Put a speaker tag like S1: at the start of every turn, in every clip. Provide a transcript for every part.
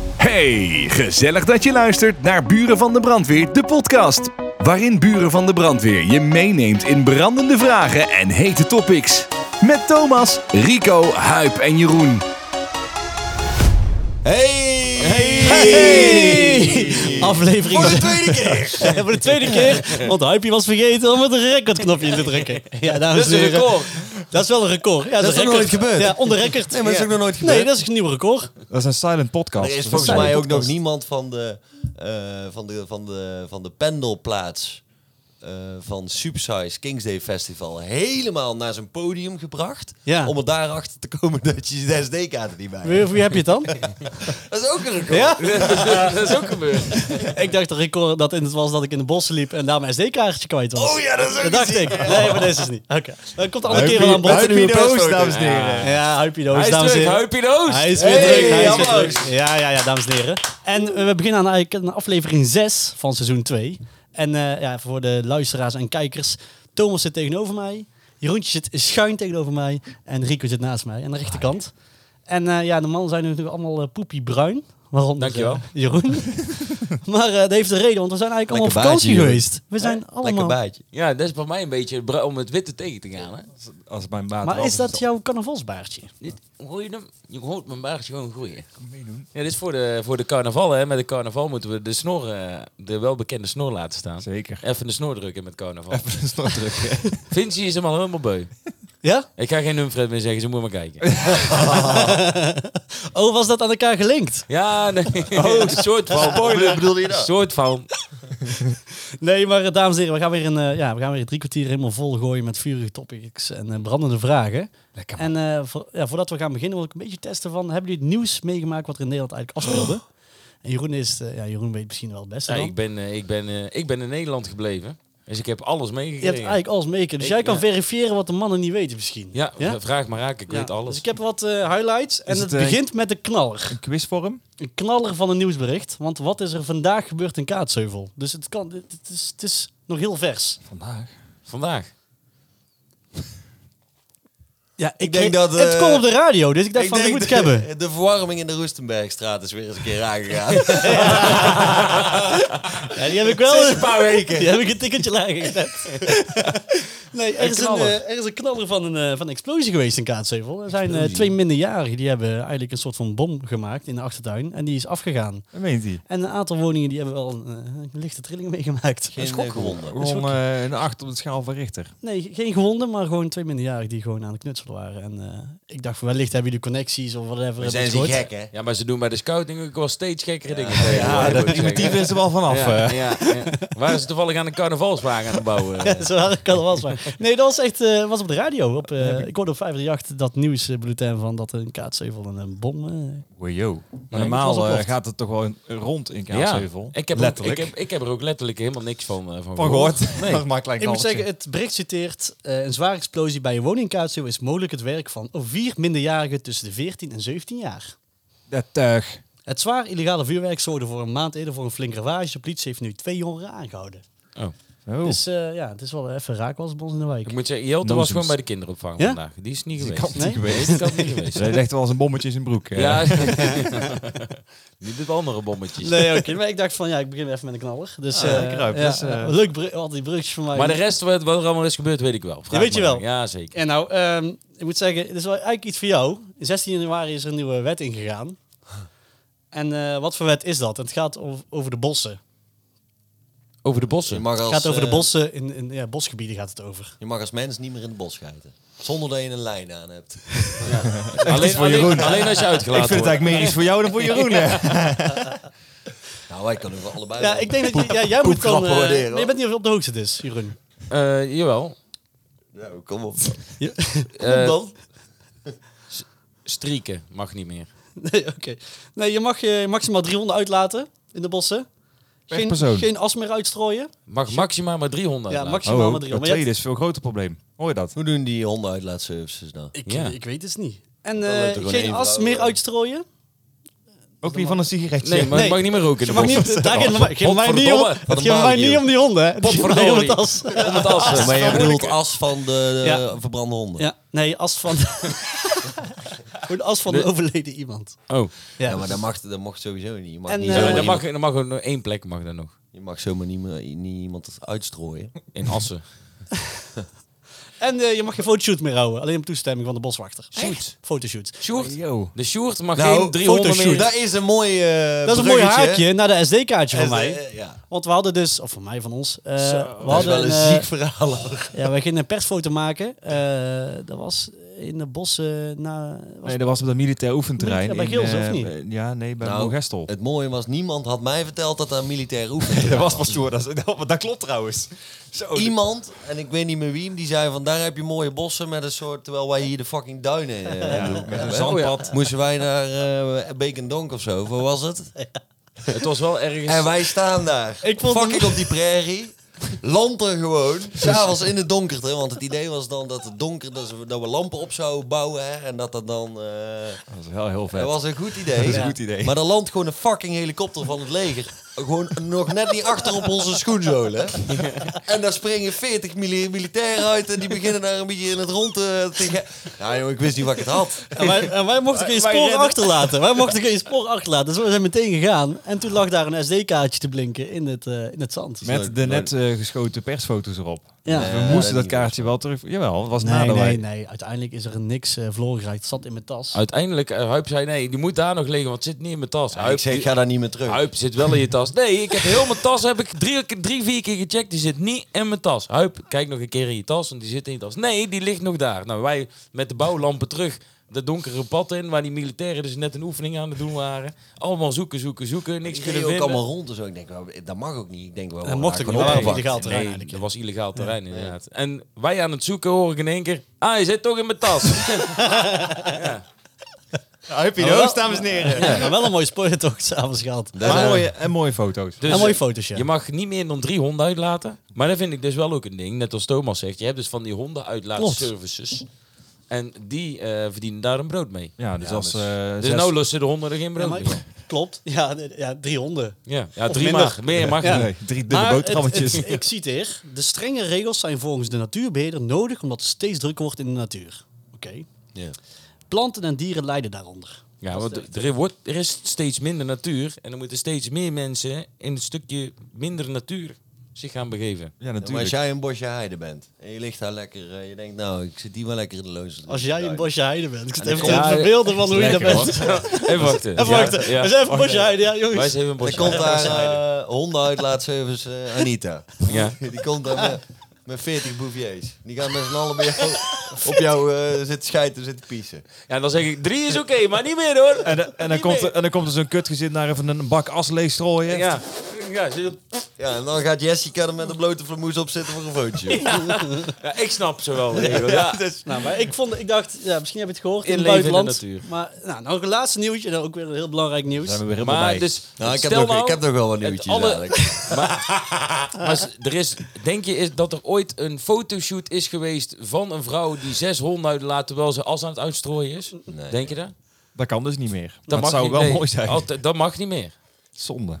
S1: Hey, gezellig dat je luistert naar Buren van de Brandweer, de podcast. Waarin Buren van de Brandweer je meeneemt in brandende vragen en hete topics. Met Thomas, Rico, Huip en Jeroen.
S2: Hey!
S3: Aflevering
S2: Voor de
S3: zes-
S2: tweede keer!
S3: voor de tweede keer, want Huipje was vergeten om het recordknopje in te drukken. Ja, dames
S4: Dat is
S3: en
S4: een
S3: heren.
S4: record.
S3: Dat is wel een record. Ja, dat,
S2: is nog
S3: record.
S2: nooit gebeurd.
S3: Ja, onder record.
S2: Nee, maar dat is ook nog nooit gebeurd.
S3: Nee, dat is een nieuw record.
S5: Dat is een silent podcast.
S2: Er is
S5: Dat
S2: volgens mij ook nog
S5: podcast.
S2: niemand van de, eh, van de, van de, van de pendelplaats eh, van Supersize Kings Day Festival helemaal naar zijn podium gebracht.
S3: Ja.
S2: Om er daarachter te komen dat je de SD-kaart er niet bij
S3: Wie,
S2: hebt.
S3: wie heb je het dan?
S2: Dat is ook een record.
S3: Ja?
S4: dat is ook gebeurd.
S3: Ik dacht dat record dat in het was dat ik in de bossen liep en daar mijn SD-kaartje kwijt was.
S2: Oh ja, dat is ook
S3: dat dacht
S2: iets-
S3: ik. Nee, maar deze is niet. Oké. Dat komt de andere keer
S5: Huipie-
S3: wel aan bod.
S5: Huipie de
S2: Huipie de
S5: Oost,
S2: Oost,
S5: dames en heren.
S3: Ja, Huipie de Hoos,
S4: Hij is
S3: dames en
S4: terug,
S3: heren.
S4: Huipie de Oost.
S3: Hij is weer
S2: Hey,
S3: terug. Hij is weer
S2: applaus.
S3: terug. Ja, ja, ja, dames en heren. En eh, we beginnen aan eigenlijk een aflevering 6 van seizoen 2. En eh, ja, voor de luisteraars en kijkers. Thomas zit tegenover mij. Jeroentje zit schuin tegenover mij. En Rico zit naast mij aan de rechterkant. En eh, ja, de mannen zijn natuurlijk allemaal eh, poepiebruin. Waarom?
S4: Dankjewel.
S3: Jeroen. maar eh, dat heeft een reden, want we zijn eigenlijk allemaal op
S2: Lekker
S3: vakantie
S2: baantje, Jeroen.
S3: geweest. We zijn
S2: Lekker
S3: allemaal...
S2: baadje.
S4: Ja, dat is bij mij een beetje bra- om het witte tegen te gaan. Hè?
S5: Als mijn baat
S3: Maar
S5: wel
S3: is dat
S5: verstand-
S3: jouw carnavalsbaardje?
S4: Dit, hoor je hem? Je hoort mijn baardje gewoon groeien. Ja, dit is voor de, voor de carnaval. Hè? Met de carnaval moeten we de snor, eh, de welbekende snor laten staan.
S5: Zeker.
S4: Even de snor drukken met carnaval.
S5: Even een snor drukken.
S4: Vinci is hem al helemaal beu.
S3: Ja?
S4: Ik ga geen numfred meer zeggen, ze moet maar kijken.
S3: Oh, was dat aan elkaar gelinkt?
S4: Ja, nee. een soort van. Spoiler bedoel je dat? soort van.
S3: Nee, maar eh, dames en heren, we gaan weer, een, eh, ja, we gaan weer drie kwartier helemaal vol gooien met vurige topics en eh, brandende vragen.
S5: Lekker
S3: En eh, voor- ja, voordat we gaan beginnen wil ik een beetje testen van, hebben jullie het nieuws meegemaakt wat er in Nederland eigenlijk afspeelde? En Jeroen, is, eh, ja, Jeroen weet misschien wel het beste
S4: Oh. Ja,
S3: dan.
S4: ik, ben, eh, ik, ben, eh, ik ben in Nederland gebleven. Dus ik heb alles
S3: Je hebt
S4: meegekregen.
S3: eigenlijk alles meegekregen. Dus
S4: Ik-
S3: jij kan
S4: ja.
S3: verifiëren wat de mannen niet weten misschien.
S4: Ja,
S3: Ja?
S4: vraag maar raak, ik
S3: Ja,
S4: weet alles.
S3: Dus ik heb wat eh, highlights en
S5: Is
S3: het,
S5: het, eh,
S3: begint met een knaller.
S5: Een quizvorm.
S3: Een knaller van een nieuwsbericht. Want wat is er vandaag gebeurd in Kaatsheuvel? Dus het, kan, het, het is, het is nog heel vers.
S5: Vandaag.
S4: Vandaag.
S3: Ja, ik
S2: denk dat,
S3: Het
S2: eh,
S3: kwam op de radio, dus ik dacht van, dat
S2: denk
S3: moet ik
S2: de-
S3: hebben.
S2: De verwarming in de Roestenbergstraat is weer eens een keer aangegaan.
S3: Ja, die heb ik wel.
S2: Sinds een paar weken.
S3: Die heb ik een tikketje lager gezet. nee, er
S4: Een
S3: is, een,
S4: knaller.
S3: eh, er is een knaller van een, eh, van een explosie geweest in Kaatsheuvel. Er zijn eh, twee minderjarigen die hebben eigenlijk een soort van bom gemaakt in de achtertuin. En die is afgegaan.
S5: Dat meent hij.
S3: En een aantal woningen die hebben wel een, eh, een lichte trilling meegemaakt.
S2: Geen
S3: Schok.
S2: gewonden.
S5: Gewoon eh, een acht op de schaal van Richter.
S3: Nee, geen gewonden, maar gewoon twee minderjarigen die gewoon aan het knutselen waren. En eh, ik dacht, van, wellicht hebben jullie connecties of whatever. hebben
S2: Zijn
S3: het
S2: ze
S3: gehoord.
S2: gek, hè?
S4: Ja, maar ze doen bij de scouting ook wel steeds gekkere dingen. Ja,
S5: Die is er wel vanaf.
S4: ja,
S5: eh.
S4: ja, ja. Waren ze toevallig aan een carnavalswagen aan het bouwen? eh,
S3: Ja, zo hard kan het wel zijn. Nee, dat was echt eh, was op de radio. Op, eh, ik hoorde op 538 dat nieuwsbulletin van dat een kaatsheuvel en een bom... eh,
S5: Wow, yo. Maar
S3: ik was
S5: normaal
S3: op
S5: eh,
S3: loft.
S5: gaat het toch wel in- rond in
S4: Ja,
S5: Kaatsheuvel.
S4: ik heb, ook, ik,
S5: Letterlijk.
S4: heb, ik heb er ook letterlijk helemaal niks van, eh, van,
S5: Van gehoord.
S4: Nee.
S5: Dat maakt
S3: ik moet zeggen, het bericht citeert... eh, een zware explosie bij een woning in Kaatsheuvel is mogelijk het werk van vier minderjarigen tussen de 14 en 17 jaar.
S5: Dat tuig.
S3: Het zwaar illegale vuurwerk zorgde voor een maand eerder voor een flink ravage. De politie heeft nu twee jongeren aangehouden.
S4: Oh.
S5: Oh.
S3: Dus eh, ja, het is wel even raak was bij ons in de wijk.
S4: Ik moet zeggen, Jelte was
S5: Nozems.
S4: gewoon bij de kinderopvang
S3: Ja?
S4: vandaag. Die is niet
S5: Die
S4: geweest.
S5: kan niet
S3: Nee?
S5: geweest.
S4: Nee, die kan niet geweest.
S5: Ze legt wel eens een bommetje in zijn broek. eh.
S4: Ja, die doet andere bommetjes.
S3: Nee, oké. Maar ik dacht van, ja, ik begin even met een knaller. Dus, eh,
S5: lekker uit.
S3: ja,
S5: Dus, eh,
S3: leuk, br- al die brugjes van mij.
S4: Maar de rest, wat, wat er allemaal is gebeurd, weet ik wel. Vraag
S3: Dat weet je
S4: maar.
S3: wel.
S4: Ja, zeker.
S3: En nou, ehm, ik moet zeggen, dit is wel eigenlijk iets voor jou. 16 januari is er een nieuwe wet ingegaan. En eh, wat voor wet is dat? Het gaat over, over de bossen.
S4: Over de
S2: Je
S4: bossen.
S2: mag als,
S3: Het gaat over de
S2: eh,
S3: bossen, in, in ja, bosgebieden gaat het over.
S2: Je mag als mens niet meer in het bos schuiten. Zonder dat je een lijn aan hebt.
S4: Alleen,
S5: voor Jeroen.
S4: alleen, alleen als je
S5: Ik
S4: uitgelaten
S5: vind het
S4: wordt.
S5: eigenlijk meer iets voor jou dan voor Jeroen. hè.
S2: Nou, wij kunnen wel allebei.
S3: Ja,
S2: wel.
S3: ik denk dat je- ja, jij moet dan...
S2: poepgrappen
S3: eh,
S2: waarderen,
S3: maar je bent niet op de hoogte dus, Jeroen.
S4: Eh, jawel.
S2: Nou, kom op.
S4: Eh,
S3: dan?
S4: Strieken mag niet meer.
S3: Nee, oké. Nee, je mag je maximaal drie honden uitlaten in de bossen.
S5: Per
S3: Geen,
S5: persoon.
S3: geen as meer uitstrooien.
S4: Mag maximaal maar 300.
S3: Ja,
S4: laten.
S3: maximaal maar
S5: Oh,
S3: drie honden.
S5: dat
S3: Maar je hebt-
S5: tweede is veel groter probleem. Hoor je dat?
S2: Hoe doen die hondenuitlaatservices nou?
S3: Ik,
S4: Ja.
S3: ik weet het niet. En
S2: loopt er
S3: eh,
S2: gewoon
S3: geen
S2: één
S3: as
S2: vrouw,
S3: meer
S2: eh.
S3: uitstrooien.
S5: Ook niet van een sigaretje.
S4: Nee, maar
S3: Nee.
S4: je mag niet meer roken in
S3: Je
S4: de
S3: mag
S4: bos.
S3: niet, daar geeft het geeft mij niet om,
S4: Potverdomme,
S2: wat
S3: het
S2: een
S3: geeft mij
S2: barbecue.
S3: niet om die honden. hè. Het geeft mij om het
S4: Potverdorie.
S3: as.
S4: Om het as, eh.
S2: maar jij bedoelt as van de
S3: Ja.
S2: verbrande honden.
S3: Ja, nee, as van... Voor de as van een overleden iemand.
S4: Oh,
S3: Ja,
S2: Ja, maar dat, mag, dat mocht sowieso niet. Je mag,
S3: En,
S2: niet
S3: eh,
S2: zomaar
S4: ja, dan
S2: iemand-
S4: mag, dan mag ook nog één plek mag dan nog.
S2: je mag zomaar niet, meer- niet iemand uitstrooien.
S4: In Assen.
S3: En eh, je mag geen fotoshoot meer houden. Alleen op toestemming van de boswachter. Shoot. Fotoshoot.
S4: Sjoerd?
S5: Yo.
S4: De Sjoerd mag
S2: Nou,
S4: geen 300
S3: fotoshoot.
S4: meer.
S2: Dat is een mooi eh,
S3: Dat is een mooi
S2: bruggetje.
S3: haakje naar de SD-kaartje van mij.
S2: Eh, Ja.
S3: Want we hadden dus, of van mij, van ons. eh, we
S2: Dat is
S3: hadden
S2: wel een
S3: eh,
S2: ziek verhaal. hoor.
S3: Ja, wij gingen een persfoto maken. Eh, dat was in de bossen na... was-
S5: Nee, dat was op dat militair oefenterrein.
S3: Militair bij
S5: in,
S3: Gils, of
S5: eh,
S3: niet?
S5: eh, Ja, nee, bij
S2: Nou,
S5: Mogestel.
S2: Het mooie was, niemand had mij verteld dat dat militair oefening
S5: Dat was pas stoer. Dat, dat, dat klopt trouwens. Zo.
S2: Iemand, en ik weet niet meer wie, die zei van daar heb je mooie bossen met een soort, terwijl wij hier de fucking duinen eh, hebben.
S5: met een
S4: zandpad.
S2: Moesten wij naar eh Bekendonk of zo, wat was het?
S4: Het was wel ergens...
S2: En wij staan daar,
S3: Ik vond
S2: fucking op die prairie. Land er gewoon, s'avonds in het donkerte. Want het idee was dan dat het donker, dat, ze- dat we lampen op zouden bouwen. Hè, en dat dat dan... eh,
S5: Dat was heel, heel vet.
S2: Dat was een goed idee.
S5: Dat is een goed idee.
S2: Maar dan landt gewoon een fucking helikopter van het leger. Gewoon nog net niet achter op onze schoenzolen. En daar springen 40 mili- militairen uit en die beginnen daar een beetje in het rond eh, te gaan. Nou jongen, ik wist niet wat ik het had.
S3: En wij, en wij mochten geen
S5: Wij- wij
S3: spoor
S5: redden.
S3: achterlaten. Wij mochten geen spoor achterlaten. Dus we zijn meteen gegaan. En toen lag daar een SD-kaartje te blinken in het, eh, in het zand.
S5: Met de net eh, geschoten persfoto's erop.
S3: Ja.
S5: Dus we
S2: Nee,
S5: moesten
S2: dat
S5: dat kaartje wel terug... Jawel, het was
S3: nee,
S5: nadat wij...
S3: nee, nee. Uiteindelijk is er niks eh verloren geraakt. Het zat in mijn tas.
S4: Uiteindelijk, eh, Huip zei nee, die moet daar nog liggen, want het zit niet in mijn tas. Huip,
S2: ik zeg,
S4: die-
S2: ga daar niet meer terug.
S4: Huip zit wel in je tas. Nee, ik heb heel mijn tas heb ik drie, drie, vier keer gecheckt. Die zit niet in mijn tas. Huip, kijk nog een keer in je tas, want die zit in je tas. Nee, die ligt nog daar. Nou, wij met de bouwlampen terug de donkere pad in, waar die militairen dus net een oefening aan het doen waren. Allemaal zoeken, zoeken, zoeken, niks
S2: Ik
S4: kunnen
S2: ging ook
S4: vinden.
S2: allemaal rond en zo. Ik denk, wel, dat mag ook niet. Ik denk wel,
S3: Dat mocht ook
S2: ik
S3: niet.
S2: opgepakt.
S3: Illegaal terrein
S4: Nee,
S3: eigenlijk,
S4: dat was illegaal terrein inderdaad. En wij aan het zoeken horen in één keer... Ah, je zit toch in mijn tas.
S5: Huipie, dames en heren.
S3: Ja, maar wel een mooie spoiler toch s'avonds gehad.
S2: Daar
S5: Maar
S2: zijn we.
S5: mooie, en mooie foto's.
S4: Dus,
S3: en mooie
S4: eh,
S3: foto's, ja.
S4: Je mag niet meer dan drie honden uitlaten. Maar dat vind ik dus wel ook een ding. Net als Thomas zegt, je hebt dus van die hondenuitlaatservices. En die eh, verdienen daar een brood mee.
S5: Ja, dus als... eh,
S4: Dus
S5: zes-
S4: nou lussen de honden er geen
S3: Ja,
S4: brood
S3: maar-
S4: meer van.
S3: klopt. Ja, nee, ja, drie honden.
S4: Ja, ja
S3: Of
S4: drie
S3: minder.
S4: mag. Meer mag
S3: Ja.
S4: niet.
S5: Nee, drie dunne
S3: Maar
S5: boterhammetjes.
S3: het- het- ik citeer. De strenge regels zijn volgens de natuurbeheerder nodig omdat het steeds drukker wordt in de natuur. Oké.
S2: Ja.
S3: Planten en dieren lijden daaronder.
S4: Ja, want er, wordt, er is steeds minder natuur. En er moeten steeds meer mensen in een stukje minder natuur zich gaan begeven.
S5: ja,
S2: Maar als
S5: natuurlijk.
S2: jij een bosje heide bent en je ligt daar lekker, eh, je denkt, nou, ik zit hier wel lekker in de loze.
S3: Als jij een bosje heide bent. Ik zit even
S4: Ja,
S3: te verbeelden van hoe je dat
S4: Lekker,
S3: bent.
S4: hoor. Even wachten.
S3: Even wachten.
S4: Ja,
S3: We zijn even bosje heide, ja
S4: Wij
S3: jongens.
S4: zijn even een
S2: Dan
S4: bosje.
S2: komt daar eh hondenuitlaatservice eh, Anita.
S4: Ja.
S2: Die komt daar met, met 40 bouviers. Die gaan met z'n allen bij jou, op jou eh, zitten schijten, zitten piezen.
S4: Ja, dan zeg ik drie is oké, maar niet meer hoor.
S5: En, dan- en, dan
S4: Niet
S5: komt,
S4: meer.
S5: er- en dan komt er zo'n kutgezin naar even een bak as leegstrooien.
S4: Ja, ja, ze-
S2: Ja, en dan gaat Jessica er met een blote flamoes op zitten voor een fotootje.
S4: ja, ik snap ze wel. de regels, Ja,
S3: Nou, maar ik, vond, ik dacht, ja, misschien heb je het gehoord in het
S4: Inleven in de
S3: buitenland.
S4: natuur.
S3: Maar nou, nog een laatste nieuwtje. Dan ook weer een heel belangrijk nieuws.
S5: Zijn we weer helemaal
S4: Maar
S5: bij.
S4: dus,
S2: Nou, ik, heb
S4: stel
S2: nog,
S4: nou,
S2: ik heb nog wel wat
S4: het
S2: nieuwtjes
S4: alle-
S2: eigenlijk.
S4: maar s- er is, denk je is dat er ooit een fotoshoot is geweest van een vrouw die zes honden uitlaat terwijl ze as aan het uitstrooien is? Denk je dat? Dat,
S5: Dat kan dus niet meer. Dat,
S4: mag
S5: zou
S4: niet,
S5: wel
S4: nee.
S5: mooi zijn.
S4: Altijd- dat mag niet meer.
S5: Zonde.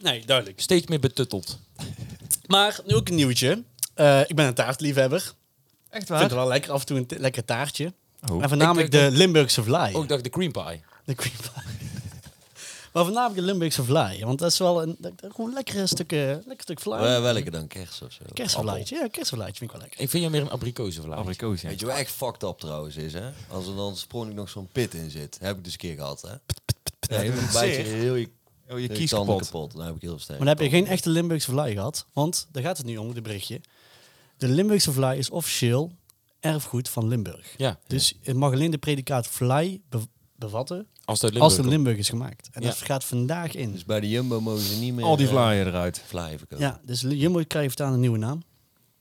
S3: Nee, duidelijk.
S4: Steeds meer betutteld.
S3: Maar nu ook een nieuwtje. Eh, ik ben een taartliefhebber.
S5: Echt
S3: Ik vind het wel lekker af en toe een t- lekker taartje.
S5: Oh.
S3: En voornamelijk
S4: Ik Oh. denk
S3: de Limburgse vlaai.
S4: Ook ik dacht de cream pie.
S3: De cream pie. maar voornamelijk de Limburgse vlaai. Want dat is wel een, dat- dat- gewoon lekker stuk, eh, lekker stuk vlaai.
S2: Eh, welke dan? Kers of zo?
S3: Kersenvlaatje. Ja, kersenvlaatje vind ik wel lekker.
S4: Ik vind jou meer een abrikozenvlaag.
S5: Abrikoos, ja.
S2: Weet je wat echt fucked up trouwens is, hè? Als er dan sprongelijk nog zo'n pit in zit. Heb ik dus een keer gehad, hè? Nee, dan bijt je
S5: zeer.
S2: heel je,
S5: Oh, je
S2: heel
S5: kies
S2: tanden
S5: kapot.
S2: kapot. Dan heb ik heel sterk.
S3: Maar dan heb je geen echte Limburgse vlaai gehad. Want daar gaat het nu om, de berichtje. De Limburgse vlaai is officieel erfgoed van Limburg.
S4: Ja,
S3: Dus het mag alleen de predicaat vlaai be- bevatten
S4: als dat
S3: als
S4: Limburg.
S3: het in
S4: komt.
S3: Limburg is gemaakt. En
S4: Ja.
S3: dat gaat vandaag in.
S2: Dus bij de Jumbo mogen ze niet meer...
S5: Al die
S2: eh,
S5: vlaaien eruit.
S2: Vlaaien verkopen.
S3: Ja, dus Jumbo krijgt het aan een nieuwe naam.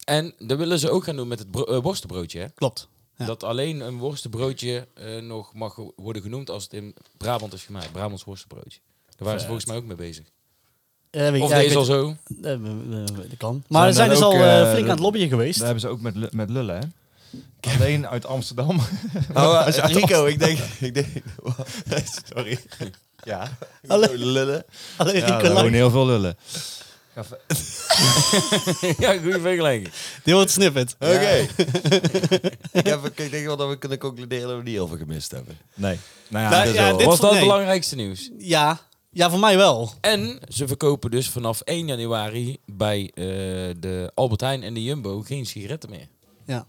S4: En dat willen ze ook gaan doen met het bro- eh, worstenbroodje. Hè?
S3: Klopt. Ja.
S4: Dat alleen een worstenbroodje eh, nog mag worden genoemd als het in Brabant is gemaakt. Brabants worstenbroodje. Daar waren ze volgens mij ook mee bezig.
S3: Eh, weet-
S4: Of
S3: ja,
S4: dat
S3: ik
S4: is
S3: weet-
S4: al zo.
S3: Eh, eh, eh, Dat kan. Maar er
S5: Zijn
S3: zijn
S5: daar
S3: dus al
S5: ook,
S3: eh,
S5: eh,
S3: flink aan het
S5: de-
S3: lobbyen
S5: Dat
S3: geweest.
S5: hebben ze ook met, lu- met lullen, hè? Alleen uit Amsterdam.
S2: Oh, eh, Rico, ik denk... Ik denk
S5: Sorry. Ja,
S3: Alleen,
S2: lullen.
S3: alleen
S5: ja
S3: Rico
S5: gewoon
S3: Lang.
S5: heel veel lullen. Ga ver-
S4: ja, goede vergelijking.
S3: Dit wordt snippet.
S2: Oké. ik, heb- ik denk wel dat we kunnen concluderen dat we niet heel veel gemist hebben.
S5: Nee.
S1: Nou ja,
S3: Nou,
S1: dat
S3: ja,
S1: wel.
S3: dit-
S4: Was dat het
S3: nee.
S4: belangrijkste nieuws?
S3: Ja. ja, voor mij wel.
S4: En ze verkopen dus vanaf 1 januari bij eh, de Albert Heijn en de Jumbo geen sigaretten meer.
S3: Ja.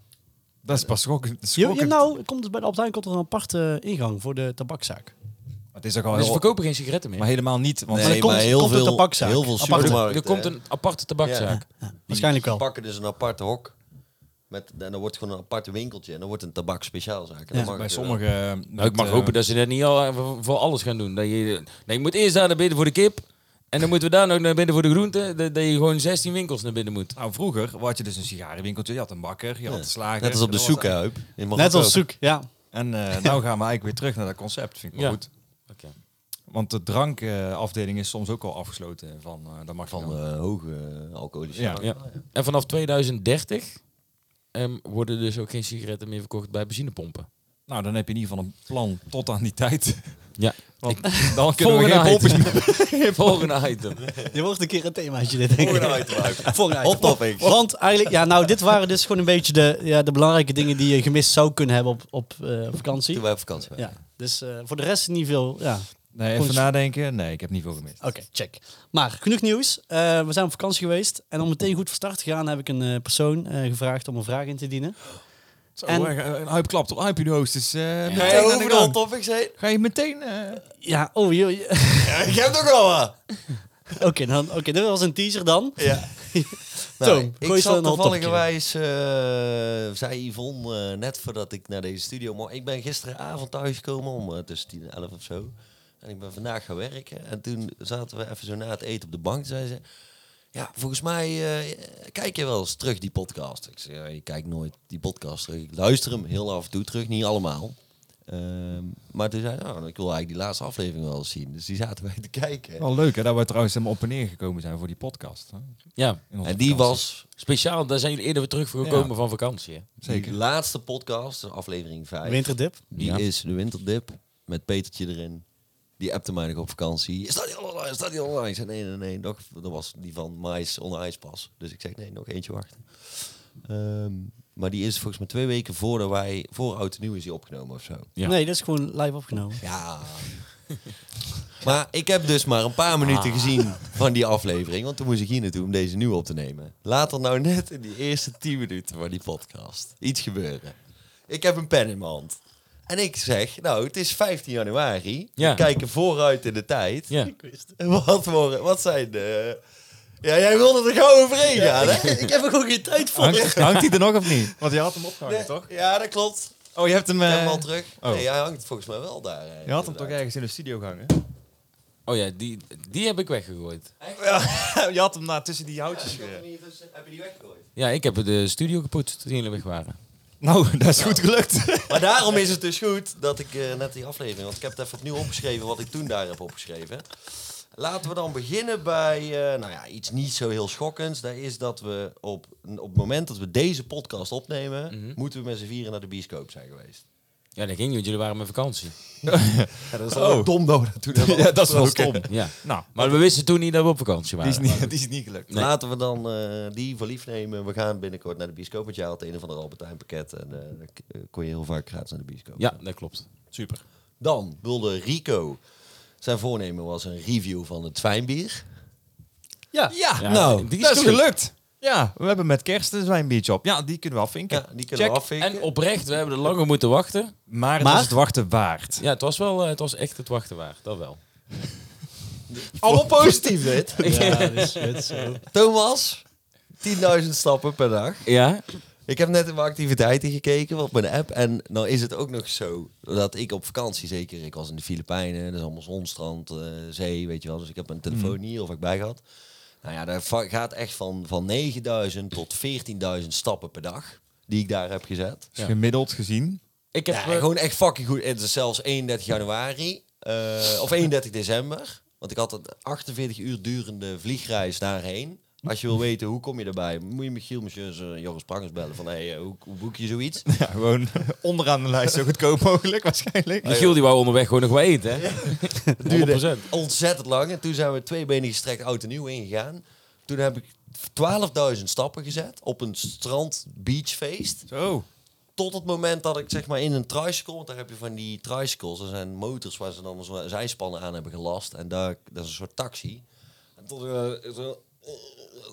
S5: Dat is pas schokkend.
S3: Je, je,
S5: schokkend.
S3: nou, komt dus bij de Albert Heijn komt er een aparte ingang voor de tabakzaak.
S5: Maar het is ook al
S4: Dus ze
S5: heel...
S4: verkopen geen sigaretten meer.
S5: Maar helemaal niet, want
S3: Nee. komt- komt een tabakzaak.
S2: heel veel
S3: Aparte-
S2: supermarkten.
S4: er komt een aparte tabakzaak.
S3: Waarschijnlijk wel.
S2: pakken dus een aparte hok. Met, en dan wordt gewoon een apart winkeltje. En dan wordt een tabak speciaalzaak.
S3: Ja,
S5: bij sommige... eh,
S4: Nou, ik
S5: met,
S4: mag
S5: eh,
S4: hopen dat ze dat niet al eh, voor alles gaan doen. Dat je, nee, je moet eerst daar naar binnen voor de kip. En dan moeten we daar nog naar binnen voor de groenten. Dat, dat je gewoon 16 winkels naar binnen moet.
S5: Nou, vroeger had je dus een sigarenwinkeltje, je had een bakker, je had een slager.
S2: Net als op de
S5: dat was eigenlijk-
S2: zoekhuip. in
S3: Net
S2: Marokko.
S3: als zoek, ja.
S5: En eh, nou gaan we eigenlijk weer terug naar dat concept, vind ik wel
S4: Ja.
S5: goed.
S4: Oké.
S5: Want de drankafdeling is soms ook al afgesloten van... eh dat mag
S2: Van
S5: van...
S2: eh, hoge alcoholische
S5: Ja.
S2: drank.
S4: Ja. En vanaf 2030 ehm, worden dus ook geen sigaretten meer verkocht bij benzinepompen.
S5: Nou, dan heb je in ieder geval een plan tot aan die tijd.
S4: Ja.
S5: Want dan kunnen we
S4: Volgende
S5: geen pompjes meer...
S4: Volgende item.
S3: Je wordt een keer een themaatje dit, denk ik.
S2: Volgende item.
S3: Volgende item.
S2: Hot topic.
S3: Want eigenlijk, ja, nou, dit waren dus gewoon een beetje de, ja, de belangrijke dingen die je gemist zou kunnen hebben op, op eh, vakantie.
S2: Toen wij op vakantie waren.
S3: Ja, dus eh, voor de rest niet veel, ja.
S5: Nee, even
S3: Ons-
S5: nadenken. Nee, ik heb niet veel gemist.
S3: Oké, check. Maar genoeg nieuws. Eh, we zijn op vakantie geweest. En om meteen goed van start te gaan, heb ik een eh, persoon eh, gevraagd om een vraag in te dienen.
S5: Zo,
S3: En-
S5: eh, een huip klapt op huip in de host. Dus, eh,
S2: Ga
S5: meteen
S2: je
S5: aan de
S2: over de
S5: gang.
S2: hot topics heen?
S5: Ga je meteen... eh,
S3: Ja, oh, joh. je-
S2: Ja, ik heb nog wel wat.
S3: Oké, dan, oké, dit was een teaser dan.
S2: Ja.
S3: Toon, gooi
S2: Nou, ik
S3: eens wel
S2: zat
S3: een hot topje.
S2: toevalligerwijs, eh zei Yvonne eh, net voordat ik naar deze studio... Maar ik ben gisteravond thuisgekomen om eh, tussen 10 en 11 of zo. En ik ben vandaag gaan werken. En toen zaten we even zo na het eten op de bank. Zei ze, ja, volgens mij eh, kijk je wel eens terug die podcast. Ik zei, ja, je kijkt nooit die podcast terug. Ik luister hem heel af en toe terug, niet allemaal. Ehm, maar toen zei ze, oh, ik wil eigenlijk die laatste aflevering wel eens zien. Dus die zaten wij te
S3: Oh,
S2: kijken.
S5: Wel leuk hè, dat we trouwens helemaal op en neer gekomen zijn voor die podcast. Hè?
S4: Ja,
S5: In onze
S2: En die
S5: vakantie.
S2: was
S4: speciaal. Daar zijn jullie eerder weer terug voor gekomen
S5: Ja.
S4: van vakantie. hè?
S5: Zeker.
S2: Die laatste podcast, dus aflevering 5.
S3: Winterdip.
S2: Die
S4: Ja.
S2: is de winterdip met Petertje erin. Die appte mij nog op vakantie. Is dat die online? Is dat die online? Ik zei nee, nee, nee. Nog, dat was die van Mais on Ice pas. Dus ik zeg nee, nog eentje wachten. Ehm, maar die is volgens mij twee weken voordat wij, voor Oud en Nieuw is die opgenomen of zo.
S4: Ja.
S3: Nee, dat is gewoon live opgenomen.
S2: Ja. maar ik heb dus maar een paar minuten
S5: Ah.
S2: gezien van die aflevering. Want toen moest ik hier naartoe om deze nieuw op te nemen. Laat er nou net in die eerste 10 minuten van die podcast iets gebeuren. Ik heb een pen in mijn hand. En ik zeg, nou, het is 15 januari.
S4: Ja.
S2: We kijken vooruit in de tijd.
S4: Ja.
S2: En Wat, worden, wat zijn de... Ja, jij wilde er gauw overheen gaan, hè?
S3: Ik heb er gewoon geen tijd voor.
S5: Hangt, hangt die er nog of niet? Want je had hem opgehangen, toch?
S2: Ja, dat klopt.
S5: Oh, je hebt hem...
S2: Ik
S5: eh,
S2: heb hem al terug.
S5: oh.
S2: Nee, hij hangt volgens mij wel daar.
S5: je had hem toch ergens in de studio gehangen?
S4: Oh ja, die, die heb ik weggegooid.
S5: je had hem daar tussen die houtjes... eh.
S2: Heb je die weggegooid?
S4: Ja, ik heb de studio gepoetst toen jullie weg waren.
S5: Nou, dat is goed gelukt.
S2: Maar daarom is het dus goed dat ik eh, net die aflevering, want ik heb het even opnieuw opgeschreven wat ik toen daar heb opgeschreven. Laten we dan beginnen bij, eh, nou ja, iets niet zo heel schokkends. Dat is dat we op, op het moment dat we deze podcast opnemen,
S4: Mhm.
S2: moeten we met z'n vieren naar de bioscoop zijn geweest.
S4: Ja, dat ging niet, want jullie waren met vakantie.
S2: Ja, dat is dan
S4: Oh.
S2: ook dom dat we dat toen hebben
S5: ja, dat is wel
S2: afgesproken.
S5: stom.
S4: Ja.
S5: Nou, eh,
S4: Maar we wisten toen niet dat we op vakantie
S5: die
S4: waren.
S5: is niet, die is niet gelukt.
S4: Nee.
S2: Laten we dan eh, die voor lief nemen. We gaan binnenkort naar de bioscoop, want jij had een of ander Albert Heijn pakket en eh, dan k- eh, kon je heel vaak gratis naar de bioscoop.
S4: Ja, dat klopt.
S5: Super.
S2: Dan wilde Rico, zijn voornemen was een review van het fijnbier.
S3: Ja.
S5: Ja,
S4: Ja,
S5: nou,
S4: die is
S5: dat is
S4: goed.
S5: gelukt. Ja, we hebben met kerst een zwijnbiertje op. Ja, die kunnen we afvinken.
S2: Ja, die kunnen we
S5: Check.
S2: afvinken.
S4: En oprecht, we hebben er langer moeten wachten.
S5: Maar het
S3: Maar-
S5: was het wachten waard.
S4: Ja, het was wel, eh, het was echt het wachten waard. Dat wel.
S2: Allemaal positief dit.
S3: Ja, dus, het is zo.
S2: Thomas, 10.000 stappen per dag.
S4: Ja?
S2: Ik heb net in mijn activiteiten gekeken op mijn app. En nou is het ook nog zo dat ik op vakantie, zeker ik was in de Filipijnen, dat is allemaal zonstrand, eh, zee, weet je wel. Dus ik heb mijn telefoon niet heel vaak bij gehad. Nou ja, daar va- gaat echt van, van 9.000 tot 14.000 stappen per dag die ik daar heb gezet.
S5: Dus gemiddeld gezien.
S4: Ik heb,
S2: Ja,
S4: eh,
S2: gewoon echt fucking goed. Het is zelfs 31 januari eh, of 31 december. Want ik had een 48 uur durende vliegreis daarheen. Als je wil weten hoe kom je daarbij, moet je Michiel, Monsieur, eh, Joris Prangers bellen van hey, eh, hoe, hoe boek je zoiets?
S5: Ja, gewoon onderaan de lijst zo goedkoop mogelijk waarschijnlijk.
S4: Michiel die wou onderweg gewoon nog wat eten, hè?
S2: duurde
S4: 100%.
S2: ontzettend lang. En toen zijn we twee benen gestrekt oud en nieuw ingegaan. Toen heb ik 12.000 stappen gezet op een strand-beachfeest.
S5: Zo.
S2: Tot het moment dat ik zeg maar in een tricycle, want daar heb je van die tricycles, dat zijn motors waar ze dan een zo- zijspannen aan hebben gelast. En daar, dat is een soort taxi. En tot ik eh, zo, eh,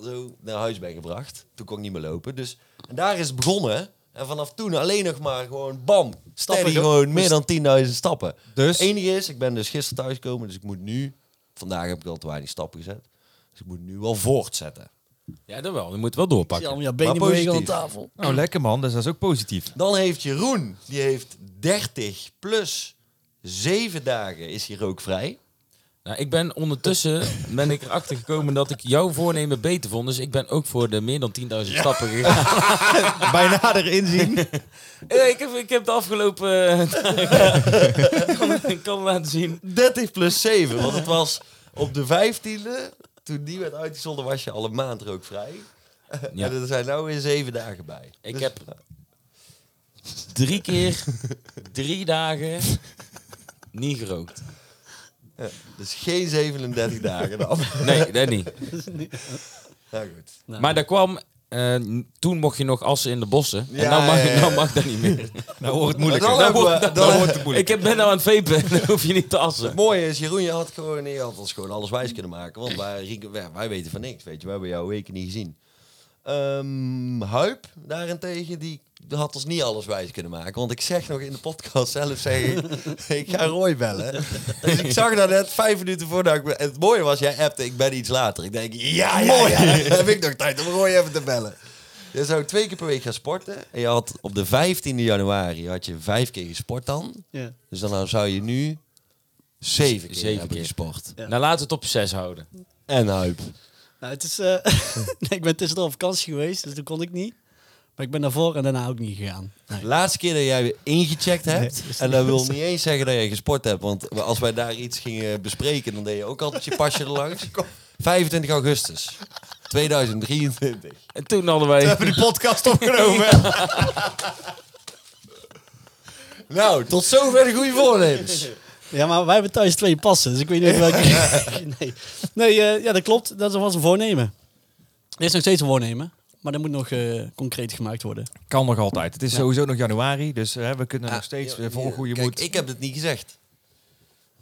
S2: zo naar huis ben gebracht. Toen kon ik niet meer lopen. Dus en daar is het begonnen. En vanaf toen alleen nog maar gewoon bam. Stappen
S5: ge-
S2: gewoon meer dan 10.000 stappen.
S5: Dus?
S2: Het enige is, ik ben dus gisteren thuisgekomen, dus ik moet nu... Vandaag heb ik al te weinig stappen gezet. Dus ik moet nu wel voortzetten.
S4: Ja, dat wel. Je moet wel
S3: Ik zie
S4: doorpakken.
S3: allemaal jouw
S2: Maar
S3: benen bewegen aan
S2: positief.
S3: tafel.
S5: Nou, lekker man. Dus dat is ook positief.
S2: Dan heeft Jeroen, die heeft 30 plus 7 dagen is hij rookvrij.
S4: Nou, ik ben ondertussen ben ik erachter gekomen dat ik jouw voornemen beter vond. Dus ik ben ook voor de meer dan 10.000 stappen gegaan.
S5: Bij nader inzien.
S4: Eh, ik, heb, ik heb de afgelopen eh, dagen- kan, ik kan laten zien.
S2: 30 plus 7, want het was op de 15e, toen die werd uitgezonden, was je al een maand rookvrij.
S4: Ja.
S2: En er zijn nou weer 7 dagen bij.
S4: Ik
S2: Dus-
S4: heb drie keer, drie dagen niet gerookt.
S2: Ja, dus geen 37 dagen dan.
S4: Nee, dat niet.
S2: Nou goed.
S4: Maar daar kwam... eh, toen mocht je nog assen in de bossen. en
S2: Ja,
S4: nou mag,
S2: ja, ja.
S4: nou mag dat niet meer.
S5: Nou wordt het moeilijker.
S2: Dan hebben we- dan-
S4: Ik heb- ben nou aan het vepen. Dan hoef je niet te assen.
S2: Het mooie is, Jeroen, je had, gewoon, je had ons gewoon alles wijs kunnen maken. Want wij, Rieke- wij, wij weten van niks, weet je. We hebben jouw weken niet gezien. Ehm Huip, daarentegen, die had ons niet alles wijs kunnen maken. Want ik zeg nog in de podcast zelf, zeg ik, ik ga Roy bellen. Dus ik zag dat net vijf minuten voordat ik... en Het mooie was, jij appte, ik ben iets later. Ik denk, ja, ja, mooi. heb ik nog tijd om Roy even te bellen. Je zou twee keer per week gaan sporten. En je had op de 15e januari had je vijf keer gesport dan.
S3: Ja.
S2: Dus dan zou je nu zeven keer
S4: Zeven
S2: hebben
S4: keer.
S2: gesport.
S3: Ja.
S4: Nou, laten we het op zes houden.
S2: En huip.
S3: Nou, het is, eh, nee, ik ben tussendoor op vakantie geweest, dus toen kon ik niet. Maar ik ben daarvoor en daarna ook niet gegaan. Nee.
S2: Laatste keer dat jij weer ingecheckt hebt.
S3: Nee, is
S2: en dat wil niet eens zeggen dat jij gesport hebt. Want als wij daar iets gingen bespreken, dan deed je ook altijd je pasje erlangs. 25 augustus 2023.
S4: En toen hadden wij...
S2: hebben die podcast opgenomen. nou, tot zover de goede voornemens.
S3: Ja, maar wij hebben thuis twee passen, dus ik weet niet of welke. nee, nee eh, ja, dat klopt. Dat was een voornemen. Er is nog steeds een voornemen, maar dat moet nog eh, concreet gemaakt worden.
S5: Kan nog altijd. Het is sowieso nog januari, dus hè, we kunnen nog steeds weer volgen hoe je
S2: Kijk,
S5: moet.
S2: ik heb het niet gezegd.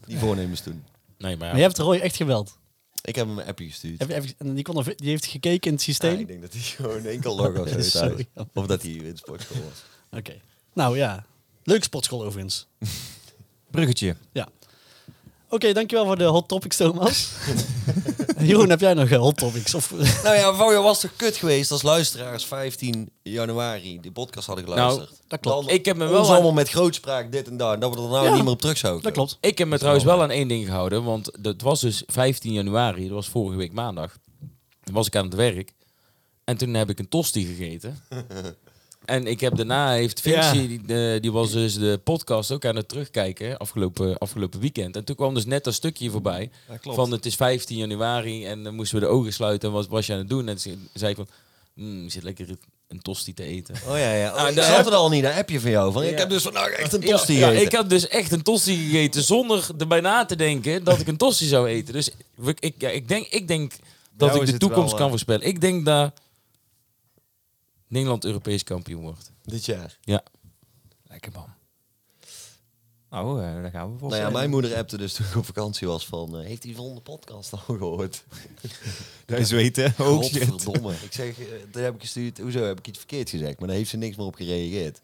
S2: Die voornemens toen.
S4: Nee, maar
S3: Maar je hebt Roy echt geweld.
S2: Ik heb hem een appje gestuurd.
S3: Heb, heb, en die, kon er, die heeft gekeken in het systeem.
S2: Ah, ik denk dat hij gewoon enkel logo
S3: Dat is
S2: heeft.
S3: zo
S2: thuis.
S3: jammer.
S2: Of dat hij in sportschool was.
S3: Oké. Nou ja, leuk sportschool overigens.
S5: Bruggetje.
S3: Ja. Oké, dankjewel voor de hot topics, Thomas. Jeroen, heb jij nog eh, hot topics? Of,
S2: Nou ja, voor je was toch kut geweest als luisteraars 15 januari de podcast hadden geluisterd.
S4: Nou,
S3: dat klopt.
S2: Dan
S4: Ik heb me
S2: ons
S4: wel aan-
S2: allemaal met grootspraak dit en dat. en Dat we er nou
S3: Ja.
S2: niet meer op terug zouden.
S3: dat klopt.
S4: Ik heb me trouwens wel aan één ding gehouden, want het was dus 15 januari, dat was vorige week maandag. Toen was ik aan het werk en toen heb ik een tosti gegeten. en ik heb daarna, heeft
S3: Ja.
S4: Vinci, die, de- die was dus de podcast ook aan het terugkijken afgelopen, afgelopen weekend. En toen kwam dus net dat stukje voorbij van het is 15 januari en dan moisten we de ogen sluiten en wat was je aan het doen? En toen zei ik van, "Mm, ik zit lekker een tosti te eten.
S2: Oh ja, ja.
S4: Ah,
S2: ik
S4: daar-
S2: zat er al niet, een appje van jou. Van,
S4: Ja.
S2: Ik heb dus vandaag echt een
S4: Ja,
S2: tosti
S4: ja,
S2: gegeten.
S4: ik had dus echt een tosti gegeten zonder erbij na te denken dat ik een tosti zou eten. Dus we- ik, ja, ik, denk, ik denk dat
S5: jou
S4: ik
S5: is
S4: de
S5: het
S4: toekomst
S5: wel,
S4: kan
S5: eh,
S4: voorspellen. Ik denk dat Nederland Europees kampioen wordt.
S2: Dit jaar.
S4: Ja. Lekker man.
S5: Nou, eh, daar gaan we voor.
S2: Nou ja, mijn moeder appte dus toen ik op vakantie was van... eh, heeft hij van de podcast al gehoord?
S5: Dat is weten. Ook shit.
S2: Godverdomme. ik zeg, eh, toen heb ik gestuurd... Hoezo, heb ik iets verkeerd gezegd? Maar daar heeft ze niks meer op gereageerd.